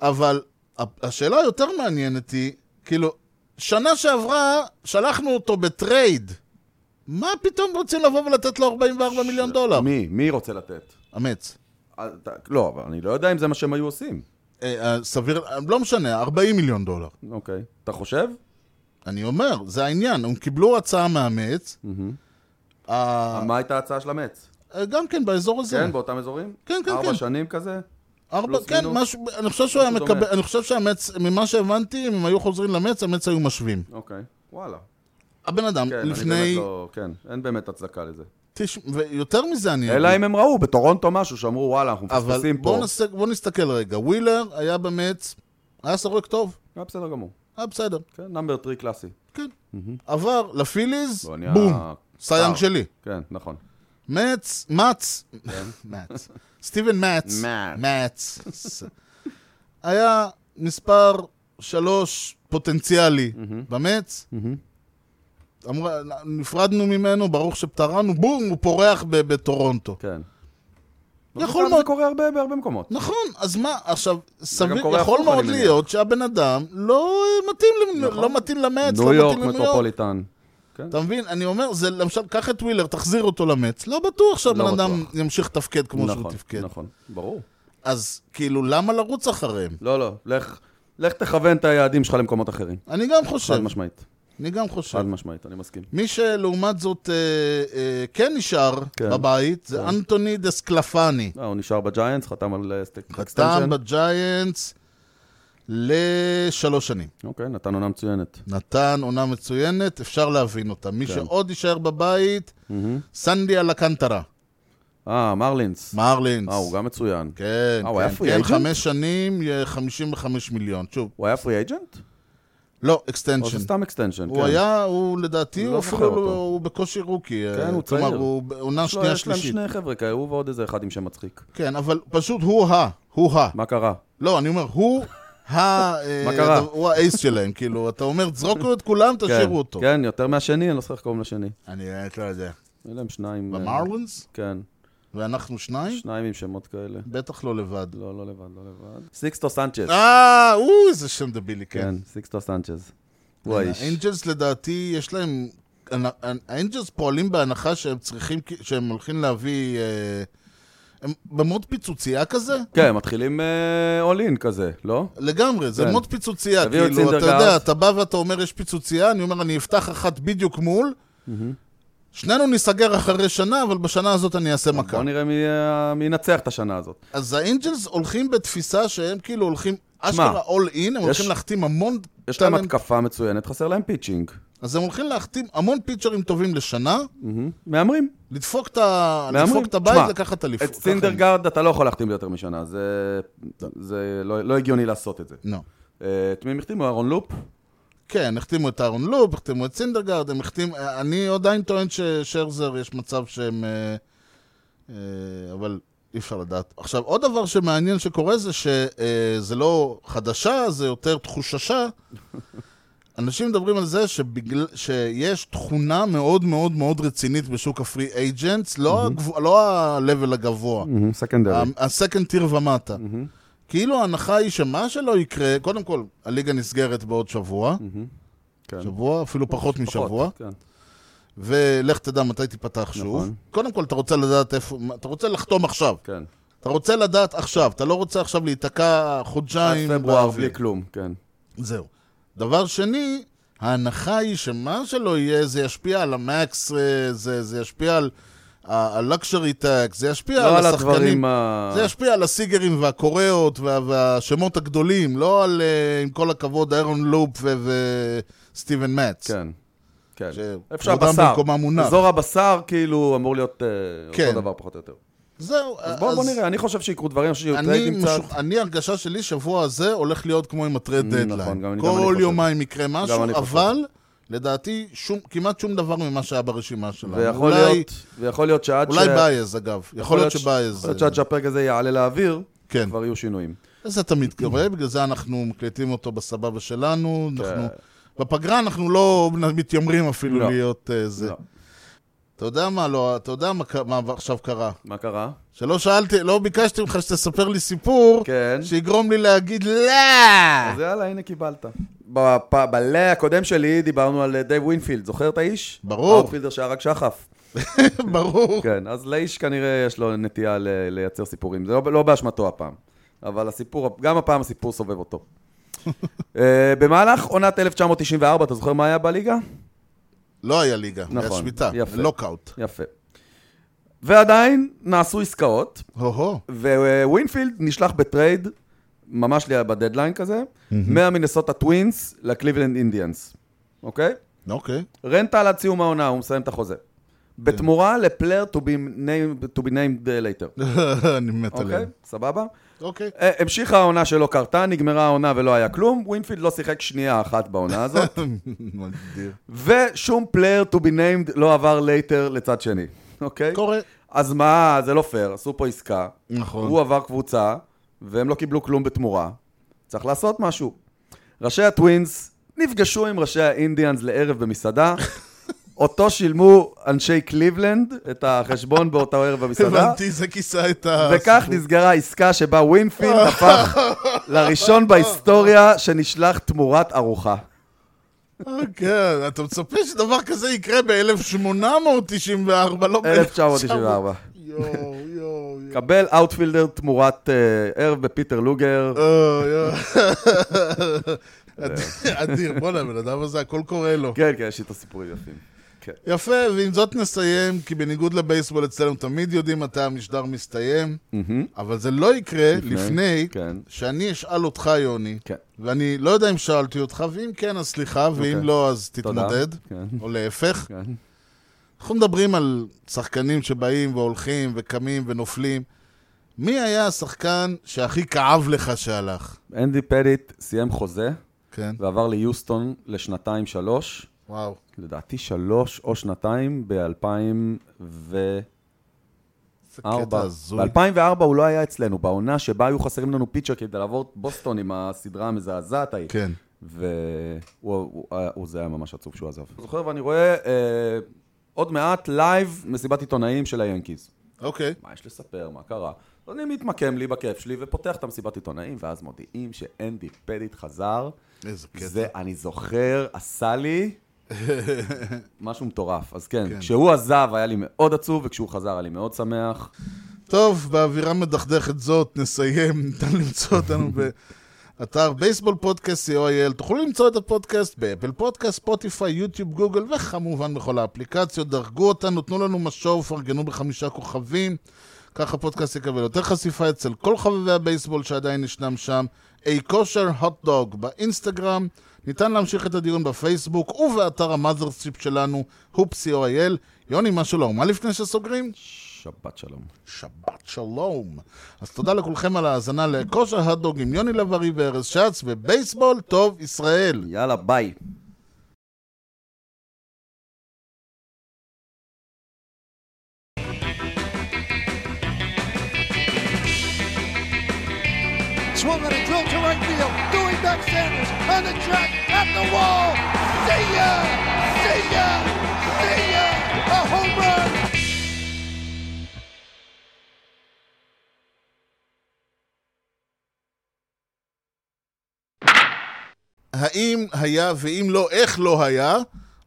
[SPEAKER 1] אבל ה- השאלה היותר מעניינת היא, כאילו, שנה שעברה שלחנו אותו בטרייד. מה פתאום רוצים לבוא ולתת לו 44 מיליון דולר?
[SPEAKER 2] מי? מי רוצה לתת?
[SPEAKER 1] אמץ.
[SPEAKER 2] אה, אתה- לא, אבל אני לא יודע אם זה מה שהם היו עושים.
[SPEAKER 1] אה, אה, סביר, אה, לא משנה, 40 מיליון דולר.
[SPEAKER 2] אוקיי. אתה חושב?
[SPEAKER 1] אני אומר, זה העניין, הם קיבלו הצעה מאמץ, אה,
[SPEAKER 2] מה הייתה ההצעה של המץ?
[SPEAKER 1] אה, גם כן באזור הזה.
[SPEAKER 2] כן, באותם אזורים?
[SPEAKER 1] כן, כן,
[SPEAKER 2] ארבע
[SPEAKER 1] כן.
[SPEAKER 2] שנים כזה?
[SPEAKER 1] ארבע,
[SPEAKER 2] פלוס
[SPEAKER 1] כן,
[SPEAKER 2] מינוס.
[SPEAKER 1] משהו, אני חושב שהוא היה
[SPEAKER 2] משהו
[SPEAKER 1] מקבל,
[SPEAKER 2] דומה.
[SPEAKER 1] אני חושב שהמץ, ממה שהבנתי, אם הם היו חוזרים למץ, המץ היו משווים.
[SPEAKER 2] אוקיי. וואלה.
[SPEAKER 1] הבן אדם,
[SPEAKER 2] כן, אני
[SPEAKER 1] לפני, אה,
[SPEAKER 2] באמת לא... כן, אין באמת הצדקה לזה.
[SPEAKER 1] תש- ויותר מזה אני
[SPEAKER 2] אלא אם הם ראו בטורונטו משהו, שאמרו, וואלה, אנחנו
[SPEAKER 1] אה. אבל
[SPEAKER 2] מפספסים פה.
[SPEAKER 1] בואו נס... בוא נסתכל רגע, ווילר היה במץ, היה סורק טוב,
[SPEAKER 2] אה, בסדר גמור.
[SPEAKER 1] היה בסדר,
[SPEAKER 2] כן, נאמבר 3 קלאסי.
[SPEAKER 1] כן. עבר לפיליז,
[SPEAKER 2] לא, נהיה-
[SPEAKER 1] בום, סייאנג
[SPEAKER 2] סטאר.
[SPEAKER 1] שלי.
[SPEAKER 2] כן, נכון.
[SPEAKER 1] מאץ, מאץ, מאץ, סטיבן מאץ,
[SPEAKER 2] מאץ.
[SPEAKER 1] מאץ, היה מספר שלוש פוטנציאלי במאץ. אמרה, נפרדנו ממנו, ברוך שפטרנו, בום, הוא פורח ב- בטורונטו.
[SPEAKER 2] כן.
[SPEAKER 1] יכול
[SPEAKER 2] אבל
[SPEAKER 1] מאוד.
[SPEAKER 2] זה קורה הרבה בהרבה מקומות.
[SPEAKER 1] נכון, אז מה, עכשיו, סביר,
[SPEAKER 2] קורה
[SPEAKER 1] יכול
[SPEAKER 2] הפוך,
[SPEAKER 1] מאוד
[SPEAKER 2] אני מניח. נכון.
[SPEAKER 1] להיות שהבן אדם לא מתאים, למ- לא מתאים למץ,
[SPEAKER 2] ניו
[SPEAKER 1] לא
[SPEAKER 2] יורק,
[SPEAKER 1] מתאים לניו יורק.
[SPEAKER 2] מטרופוליטן. כן.
[SPEAKER 1] אתה מבין? אני אומר, זה למשל, קח את ווילר, תחזיר אותו למץ, לא בטוח שהבן
[SPEAKER 2] לא
[SPEAKER 1] אדם
[SPEAKER 2] בטוח.
[SPEAKER 1] ימשיך לתפקד כמו שהוא
[SPEAKER 2] נכון,
[SPEAKER 1] תפקד.
[SPEAKER 2] נכון, ברור.
[SPEAKER 1] אז כאילו, למה לרוץ אחריהם?
[SPEAKER 2] לא, לא, לך, לך תכוון את היעדים שלך למקומות אחרים.
[SPEAKER 1] אני גם
[SPEAKER 2] חד
[SPEAKER 1] חושב,
[SPEAKER 2] משמעית,
[SPEAKER 1] אני גם חושב.
[SPEAKER 2] חד משמעית, אני מסכים.
[SPEAKER 1] מי שלעומת זאת אה, אה, כן נשאר
[SPEAKER 2] כן.
[SPEAKER 1] בבית, זה אנטוני דסקלפני.
[SPEAKER 2] אה, הוא נשאר בג'יינטס, חתם על אה, סטייק
[SPEAKER 1] חתם
[SPEAKER 2] אקסטנשן.
[SPEAKER 1] בג'יינטס לשלוש שנים.
[SPEAKER 2] אוקיי, נתן עונה מצוינת.
[SPEAKER 1] נתן עונה מצוינת, אפשר להבין אותה.
[SPEAKER 2] כן.
[SPEAKER 1] מי שעוד יישאר בבית, סנדי אלקנטרה,
[SPEAKER 2] אה, מרלינס.
[SPEAKER 1] מרלינס.
[SPEAKER 2] אה, הוא גם מצוין.
[SPEAKER 1] כן,
[SPEAKER 2] אה, הוא
[SPEAKER 1] כן,
[SPEAKER 2] היה free
[SPEAKER 1] כן,
[SPEAKER 2] agent?
[SPEAKER 1] חמש שנים, אה, 55 מיליון. שוב,
[SPEAKER 2] הוא היה פרי אייג'נט?
[SPEAKER 1] לא,
[SPEAKER 2] או זה
[SPEAKER 1] אקסטנשן.
[SPEAKER 2] סתם אקסטנשן, כן.
[SPEAKER 1] הוא היה, הוא לדעתי,
[SPEAKER 2] אני
[SPEAKER 1] הוא
[SPEAKER 2] לא
[SPEAKER 1] אפילו,
[SPEAKER 2] זוכר
[SPEAKER 1] לא-
[SPEAKER 2] אותו. כן,
[SPEAKER 1] הוא בקושי רוקי. אה,
[SPEAKER 2] הוא
[SPEAKER 1] כלומר,
[SPEAKER 2] צעיר.
[SPEAKER 1] הוא בעונה
[SPEAKER 2] יש לו-
[SPEAKER 1] שנייה
[SPEAKER 2] לא, יש להם
[SPEAKER 1] שלישית.
[SPEAKER 2] שני חבר'ה כאלה, הוא ועוד איזה אחד עם שם מצחיק.
[SPEAKER 1] כן, אבל פשוט הוא ה, הוא ה.
[SPEAKER 2] מה קרה?
[SPEAKER 1] לא, אני אומר, הוא ה... אה,
[SPEAKER 2] מה קרה?
[SPEAKER 1] הוא האייס שלהם, כאילו, אתה אומר, תזרוקו את כולם,
[SPEAKER 2] כן,
[SPEAKER 1] תשאירו אותו.
[SPEAKER 2] כן, יותר מהשני, אני לא זוכר איך קוראים לשני.
[SPEAKER 1] אני באמת לא יודע.
[SPEAKER 2] אין להם שניים... אה,
[SPEAKER 1] במרלינס?
[SPEAKER 2] כן,
[SPEAKER 1] ואנחנו שניים?
[SPEAKER 2] שניים עם שמות כאלה.
[SPEAKER 1] בטח לא לבד.
[SPEAKER 2] לא, לא לבד, לא לבד. סיקסטו סנצ'ז.
[SPEAKER 1] אה, הוא איזה שם דבילי, כן. אה,
[SPEAKER 2] כן, סיקסטו סנצ'ז. הוא האיש.
[SPEAKER 1] האנג'לס לדעתי, יש להם... האנג'לס פועלים בהנחה שהם צריכים, שהם הולכים להביא... אה, הם במוד פיצוצייה כזה?
[SPEAKER 2] כן, מתחילים אול אין כזה,
[SPEAKER 1] אה,
[SPEAKER 2] לא?
[SPEAKER 1] לגמרי, זה
[SPEAKER 2] כן.
[SPEAKER 1] מוד פיצוצייה,
[SPEAKER 2] תביאו את
[SPEAKER 1] כאילו, אתה
[SPEAKER 2] סינדרגארד.
[SPEAKER 1] יודע, אתה בא ואתה אומר, יש פיצוצייה, אני אומר, אני אפתח אחת בדיוק מול, שנינו ניסגר אחרי שנה, אבל בשנה הזאת אני אעשה מכה.
[SPEAKER 2] נכון, בוא נראה מי, אה, מי ינצח את השנה הזאת.
[SPEAKER 1] אז האנג'לס הולכים בתפיסה שהם כאילו הולכים, אשכרה אול אין, הם הולכים להחתים המון
[SPEAKER 2] יש להם
[SPEAKER 1] טאלנט.
[SPEAKER 2] התקפה מצוינת, חסר להם פיצ'ינג.
[SPEAKER 1] אז הם הולכים להחתים המון פיצ'רים טובים לשנה,
[SPEAKER 2] מהמרים.
[SPEAKER 1] לדפוק את ה-
[SPEAKER 2] מהמרים.
[SPEAKER 1] לדפוק את הבית,
[SPEAKER 2] תשמע,
[SPEAKER 1] לקחת אליפות.
[SPEAKER 2] את סינדרגרד אתה לא יכול להחתים יותר משנה, זה, זה לא, לא הגיוני לעשות את זה.
[SPEAKER 1] לא.
[SPEAKER 2] אה, את מי הם החתימו? אהרון לופ?
[SPEAKER 1] כן, החתימו את אהרון לופ, החתימו את סינדרגרד, הם החתימו... אני עדיין טוען ששרזר, יש מצב שהם... אה, אה, אבל אי אפשר לדעת. עכשיו, עוד דבר שמעניין שקורה זה שזה לא חדשה, זה יותר תחוששה. אנשים מדברים על זה שבגל... שיש תכונה מאוד מאוד מאוד רצינית בשוק הפרי אייג'נטס, לא, הגב... לא ה-level הגבוה.
[SPEAKER 2] סקנדרי.
[SPEAKER 1] הסקנד טיר ומטה. כאילו ההנחה היא שמה שלא יקרה, קודם כל, הליגה נסגרת בעוד שבוע,
[SPEAKER 2] כן.
[SPEAKER 1] שבוע, אפילו פחות משבוע,
[SPEAKER 2] פחות, כן.
[SPEAKER 1] ולך תדע מתי תיפתח שוב.
[SPEAKER 2] נכון.
[SPEAKER 1] קודם כל, אתה רוצה לדעת איפה, אתה רוצה לחתום עכשיו.
[SPEAKER 2] כן.
[SPEAKER 1] אתה רוצה לדעת עכשיו, אתה לא רוצה עכשיו להיתקע
[SPEAKER 2] עד
[SPEAKER 1] חודשיים.
[SPEAKER 2] פברואר
[SPEAKER 1] באוויר.
[SPEAKER 2] בלי כלום, כן.
[SPEAKER 1] זהו. דבר שני, ההנחה היא שמה שלא יהיה, זה ישפיע על המקס, אה, זה, זה ישפיע על הלקשרי טאק, זה ישפיע
[SPEAKER 2] לא
[SPEAKER 1] על
[SPEAKER 2] על
[SPEAKER 1] השחקנים.
[SPEAKER 2] הדברים ה...
[SPEAKER 1] זה ישפיע על הסיגרים והקוריאות וה, והשמות הגדולים, לא על, אה, עם כל הכבוד, איירון לופ ו- וסטיבן מאץ.
[SPEAKER 2] כן. כן.
[SPEAKER 1] שכבודם
[SPEAKER 2] אפשר בשר.
[SPEAKER 1] במקומם מונח.
[SPEAKER 2] אזור הבשר כאילו אמור להיות אה,
[SPEAKER 1] כן.
[SPEAKER 2] אותו דבר פחות או יותר.
[SPEAKER 1] זהו,
[SPEAKER 2] אז בואו בוא נראה, אני חושב שיקרו דברים, אני חושב שיהיו
[SPEAKER 1] אני,
[SPEAKER 2] טריידים קצת.
[SPEAKER 1] משוכ... אני, הרגשה שלי, שבוע הזה הולך להיות כמו עם הטרי דדליין.
[SPEAKER 2] נכון, גם אני- גם אני
[SPEAKER 1] כל
[SPEAKER 2] חושב.
[SPEAKER 1] יומיים יקרה משהו,
[SPEAKER 2] אני חושב.
[SPEAKER 1] אבל לדעתי, שום, כמעט שום דבר ממה שהיה ברשימה שלנו.
[SPEAKER 2] ויכול
[SPEAKER 1] אולי,
[SPEAKER 2] להיות, ויכול להיות שעד
[SPEAKER 1] אולי
[SPEAKER 2] ש...
[SPEAKER 1] בייז, אגב. יכול להיות שבייז.
[SPEAKER 2] יכול להיות שעד שהפרק הזה יעלה לאוויר,
[SPEAKER 1] כן.
[SPEAKER 2] כבר יהיו שינויים.
[SPEAKER 1] זה תמיד קורה, בגלל זה אנחנו מקליטים אותו בסבבה שלנו.
[SPEAKER 2] כן.
[SPEAKER 1] אנחנו... בפגרה אנחנו לא מתיימרים אפילו
[SPEAKER 2] לא.
[SPEAKER 1] להיות אה, זה.
[SPEAKER 2] לא.
[SPEAKER 1] אתה יודע מה, לא, אתה יודע מה, ק- מה עכשיו קרה.
[SPEAKER 2] מה קרה?
[SPEAKER 1] שלא שאלתי, לא ביקשתי ממך שתספר לי סיפור,
[SPEAKER 2] כן.
[SPEAKER 1] שיגרום לי להגיד לא!
[SPEAKER 2] אז יאללה, הנה קיבלת. בפ... בלה הקודם שלי דיברנו על אה, דייב ווינפילד, זוכר את האיש?
[SPEAKER 1] ברור.
[SPEAKER 2] האוטפילדר שהרג שחף.
[SPEAKER 1] ברור.
[SPEAKER 2] כן, אז לאיש כנראה יש לו נטייה ל... לייצר סיפורים. זה לא, לא באשמתו הפעם. אבל הסיפור, גם הפעם הסיפור סובב אותו. אה, במהלך עונת 1994, אתה זוכר מה היה בליגה?
[SPEAKER 1] לא היה ליגה, היה
[SPEAKER 2] נכון,
[SPEAKER 1] שביתה,
[SPEAKER 2] יפה.
[SPEAKER 1] לוקאוט.
[SPEAKER 2] יפה. ועדיין נעשו עסקאות,
[SPEAKER 1] הו-הו,
[SPEAKER 2] וווינפילד נשלח בטרייד, ממש לי בדדליין כזה, מהמינסוטה טווינס לקליבלנד אינדיאנס, אוקיי?
[SPEAKER 1] אוקיי.
[SPEAKER 2] רנטל עד סיום העונה, הוא מסיים את החוזה. בתמורה לפלייר to be named- to be named uh, later,
[SPEAKER 1] אני מת
[SPEAKER 2] אוקיי?
[SPEAKER 1] עליהם.
[SPEAKER 2] סבבה?
[SPEAKER 1] אוקיי.
[SPEAKER 2] אה, המשיכה העונה שלא קרתה, נגמרה העונה ולא היה כלום, ווינפילד לא שיחק שנייה אחת בעונה הזאת,
[SPEAKER 1] מדהים.
[SPEAKER 2] ושום פלייר to be named לא עבר later לצד שני, אוקיי?
[SPEAKER 1] קורה.
[SPEAKER 2] אז מה, זה לא פייר, עשו פה עסקה.
[SPEAKER 1] נכון.
[SPEAKER 2] הוא עבר קבוצה, והם לא קיבלו כלום בתמורה. צריך לעשות משהו. ראשי הטווינס נפגשו עם ראשי האינדיאנס לערב במסעדה. אותו שילמו אנשי קליבלנד את החשבון באותו ערב במסעדה.
[SPEAKER 1] הבנתי, זה כיסה את ה...
[SPEAKER 2] וכך נסגרה העסקה שבה ווינפילד הפך לראשון בהיסטוריה שנשלח תמורת ארוחה.
[SPEAKER 1] אה, כן, אתה מצפה שדבר כזה יקרה ב-1894, לא ב-
[SPEAKER 2] 1994.
[SPEAKER 1] יואו, יואו, יואו.
[SPEAKER 2] קבל אאוטפילדר תמורת אה, ערב בפיטר לוגר.
[SPEAKER 1] אה, יואו. אדיר, בוא'נה, הבן אדם הזה, הכל קורה לו.
[SPEAKER 2] כן, כן, יש איתו סיפורים יפים. כן.
[SPEAKER 1] יפה, ועם זאת נסיים, כי בניגוד לבייסבול אצלנו תמיד יודעים מתי המשדר מסתיים, אבל זה לא יקרה לפני
[SPEAKER 2] כן.
[SPEAKER 1] שאני אשאל אותך, יוני,
[SPEAKER 2] כן.
[SPEAKER 1] ואני לא יודע אם שאלתי אותך, ואם כן, אז סליחה, ואם
[SPEAKER 2] אוקיי.
[SPEAKER 1] לא, אז
[SPEAKER 2] תודה.
[SPEAKER 1] תתמודד,
[SPEAKER 2] כן.
[SPEAKER 1] או להפך.
[SPEAKER 2] כן.
[SPEAKER 1] אנחנו מדברים על שחקנים שבאים והולכים וקמים ונופלים. מי היה השחקן שהכי כאב לך שהלך?
[SPEAKER 2] אנדי פדיט סיים חוזה
[SPEAKER 1] כן,
[SPEAKER 2] ועבר ליוסטון לשנתיים שלוש,
[SPEAKER 1] וואו.
[SPEAKER 2] לדעתי שלוש או שנתיים ב-2004.
[SPEAKER 1] זה קטע הזוי.
[SPEAKER 2] ב-2004 הוא לא היה אצלנו, בעונה שבה היו חסרים לנו פיצ'ר כדי לעבור את בוסטון עם הסדרה המזעזעת ההיא.
[SPEAKER 1] כן.
[SPEAKER 2] והוא הוא- אה, הוא- זה היה ממש עצוב שהוא עזב. זוכר ואני רואה אה, עוד מעט לייב מסיבת עיתונאים של היאנקיז.
[SPEAKER 1] אוקיי.
[SPEAKER 2] מה יש לספר, מה קרה? אז אני מתמקם לי בכיף שלי ופותח את המסיבת עיתונאים, ואז מודיעים שאנדי פדיט חזר.
[SPEAKER 1] איזה קטע.
[SPEAKER 2] זה, אני זוכר, עשה לי משהו מטורף. אז כן, כשהוא עזב היה לי מאוד עצוב, וכשהוא חזר היה לי מאוד שמח.
[SPEAKER 1] טוב, באווירה מדכדכת זאת נסיים, ניתן למצוא אותנו באתר בייסבול פודקאסט co.il. תוכלו למצוא את הפודקאסט באפל פודקאסט, ספוטיפיי, יוטיוב, גוגל, וכמובן בכל האפליקציות. דרגו אותנו, תנו לנו משוב, פרגנו בחמישה כוכבים. כך הפודקאסט יקבל יותר חשיפה אצל כל חובבי הבייסבול שעדיין ישנם שם. אי כושר hot dog באינסטגרם. ניתן להמשיך את הדיון בפייסבוק ובאתר המאזרשיפ שלנו, הופ.co.il. יוני, מה שלא, מה לפני שסוגרים?
[SPEAKER 2] שבת שלום.
[SPEAKER 1] שבת שלום. אז תודה לכולכם על ההאזנה לכושר הדוג עם יוני לב-ארי וארז שץ, ובייסבול טוב ישראל.
[SPEAKER 2] יאללה, ביי.
[SPEAKER 3] Swung and a drill to right field. Doing back Sanders on the track at the wall. See ya! See ya! See ya! A home run!
[SPEAKER 1] האם היה, ואם לא, איך לא היה,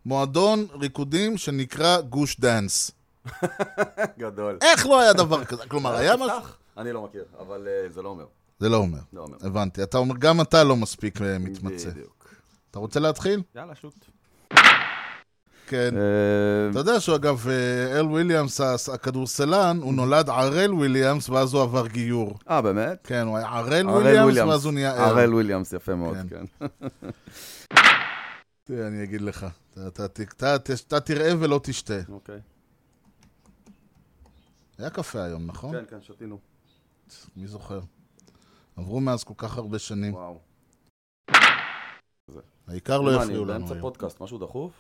[SPEAKER 1] מועדון ריקודים שנקרא גוש דאנס?
[SPEAKER 2] גדול.
[SPEAKER 1] איך לא היה דבר כזה? כלומר, היה משהו...
[SPEAKER 2] אני לא מכיר, אבל אה, זה לא אומר.
[SPEAKER 1] זה לא אומר.
[SPEAKER 2] לא אומר.
[SPEAKER 1] הבנתי. אתה אומר, גם אתה לא מספיק אה, מתמצא.
[SPEAKER 2] בדיוק.
[SPEAKER 1] אתה רוצה להתחיל?
[SPEAKER 2] יאללה, שוט.
[SPEAKER 1] כן.
[SPEAKER 2] אה,
[SPEAKER 1] אתה יודע שהוא, אגב, אה, אל וויליאמס, הס- הכדורסלן, הוא נולד ערל וויליאמס, ואז הוא עבר גיור.
[SPEAKER 2] אה, באמת?
[SPEAKER 1] כן, הוא היה ערל
[SPEAKER 2] הראל
[SPEAKER 1] וויליאמס, ואז הוא נהיה אל.
[SPEAKER 2] כן. הראל וויליאמס, יפה מאוד,
[SPEAKER 1] כן.
[SPEAKER 2] כן.
[SPEAKER 1] תראה, אני אגיד לך. אתה- אתה ת- אתה ת- אתה תראה ולא תשתה.
[SPEAKER 2] אוקיי.
[SPEAKER 1] היה קפה היום, נכון?
[SPEAKER 2] כן, כן, שתינו.
[SPEAKER 1] מי זוכר? עברו מאז כל כך הרבה שנים.
[SPEAKER 2] וואו.
[SPEAKER 1] העיקר לא
[SPEAKER 2] מה, אני
[SPEAKER 1] יפריעו לנו
[SPEAKER 2] באמצע
[SPEAKER 1] היום.
[SPEAKER 2] פודקאסט, משהו דחוף?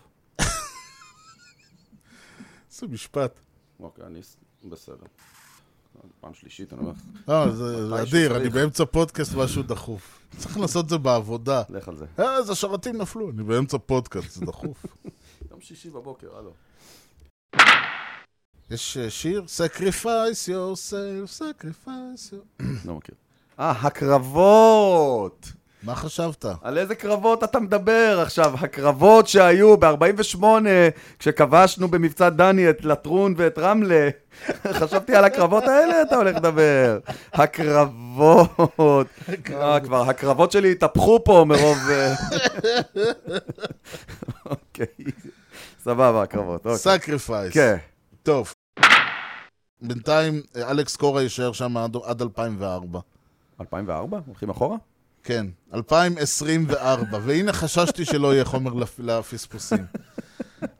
[SPEAKER 1] איזה משפט.
[SPEAKER 2] אוקיי, אני... ס- בסדר. פעם שלישית, אני אומר לך,
[SPEAKER 1] לא, זה זה
[SPEAKER 2] מתי
[SPEAKER 1] אדיר,
[SPEAKER 2] שצריך.
[SPEAKER 1] אני באמצע פודקאסט משהו דחוף. צריך לעשות את זה בעבודה.
[SPEAKER 2] לך על זה.
[SPEAKER 1] אה, אז השרתים נפלו, אני באמצע פודקאסט, זה דחוף.
[SPEAKER 2] יום שישי בבוקר, הלו.
[SPEAKER 1] יש אה, שיר? Sacrifice yourself, sacrifice your...
[SPEAKER 2] לא מכיר. אה, הקרבות!
[SPEAKER 1] מה חשבת?
[SPEAKER 2] על איזה קרבות אתה מדבר עכשיו? הקרבות שהיו ב-48, כשכבשנו במבצע דני את לטרון ואת רמלה. חשבתי על הקרבות האלה אתה הולך לדבר. הקרבות. אה, כבר, הקרבות שלי התהפכו פה מרוב... אה, אוקיי. סבבה, הקרבות. אוקיי.
[SPEAKER 1] Sacrifice.
[SPEAKER 2] כן.
[SPEAKER 1] טוב. בינתיים, אה, אלכס קורה יישאר שם עד- עד 2004.
[SPEAKER 2] 2004? הולכים אחורה?
[SPEAKER 1] כן, 2024, והנה חששתי שלא יהיה חומר לפ- לפספוסים.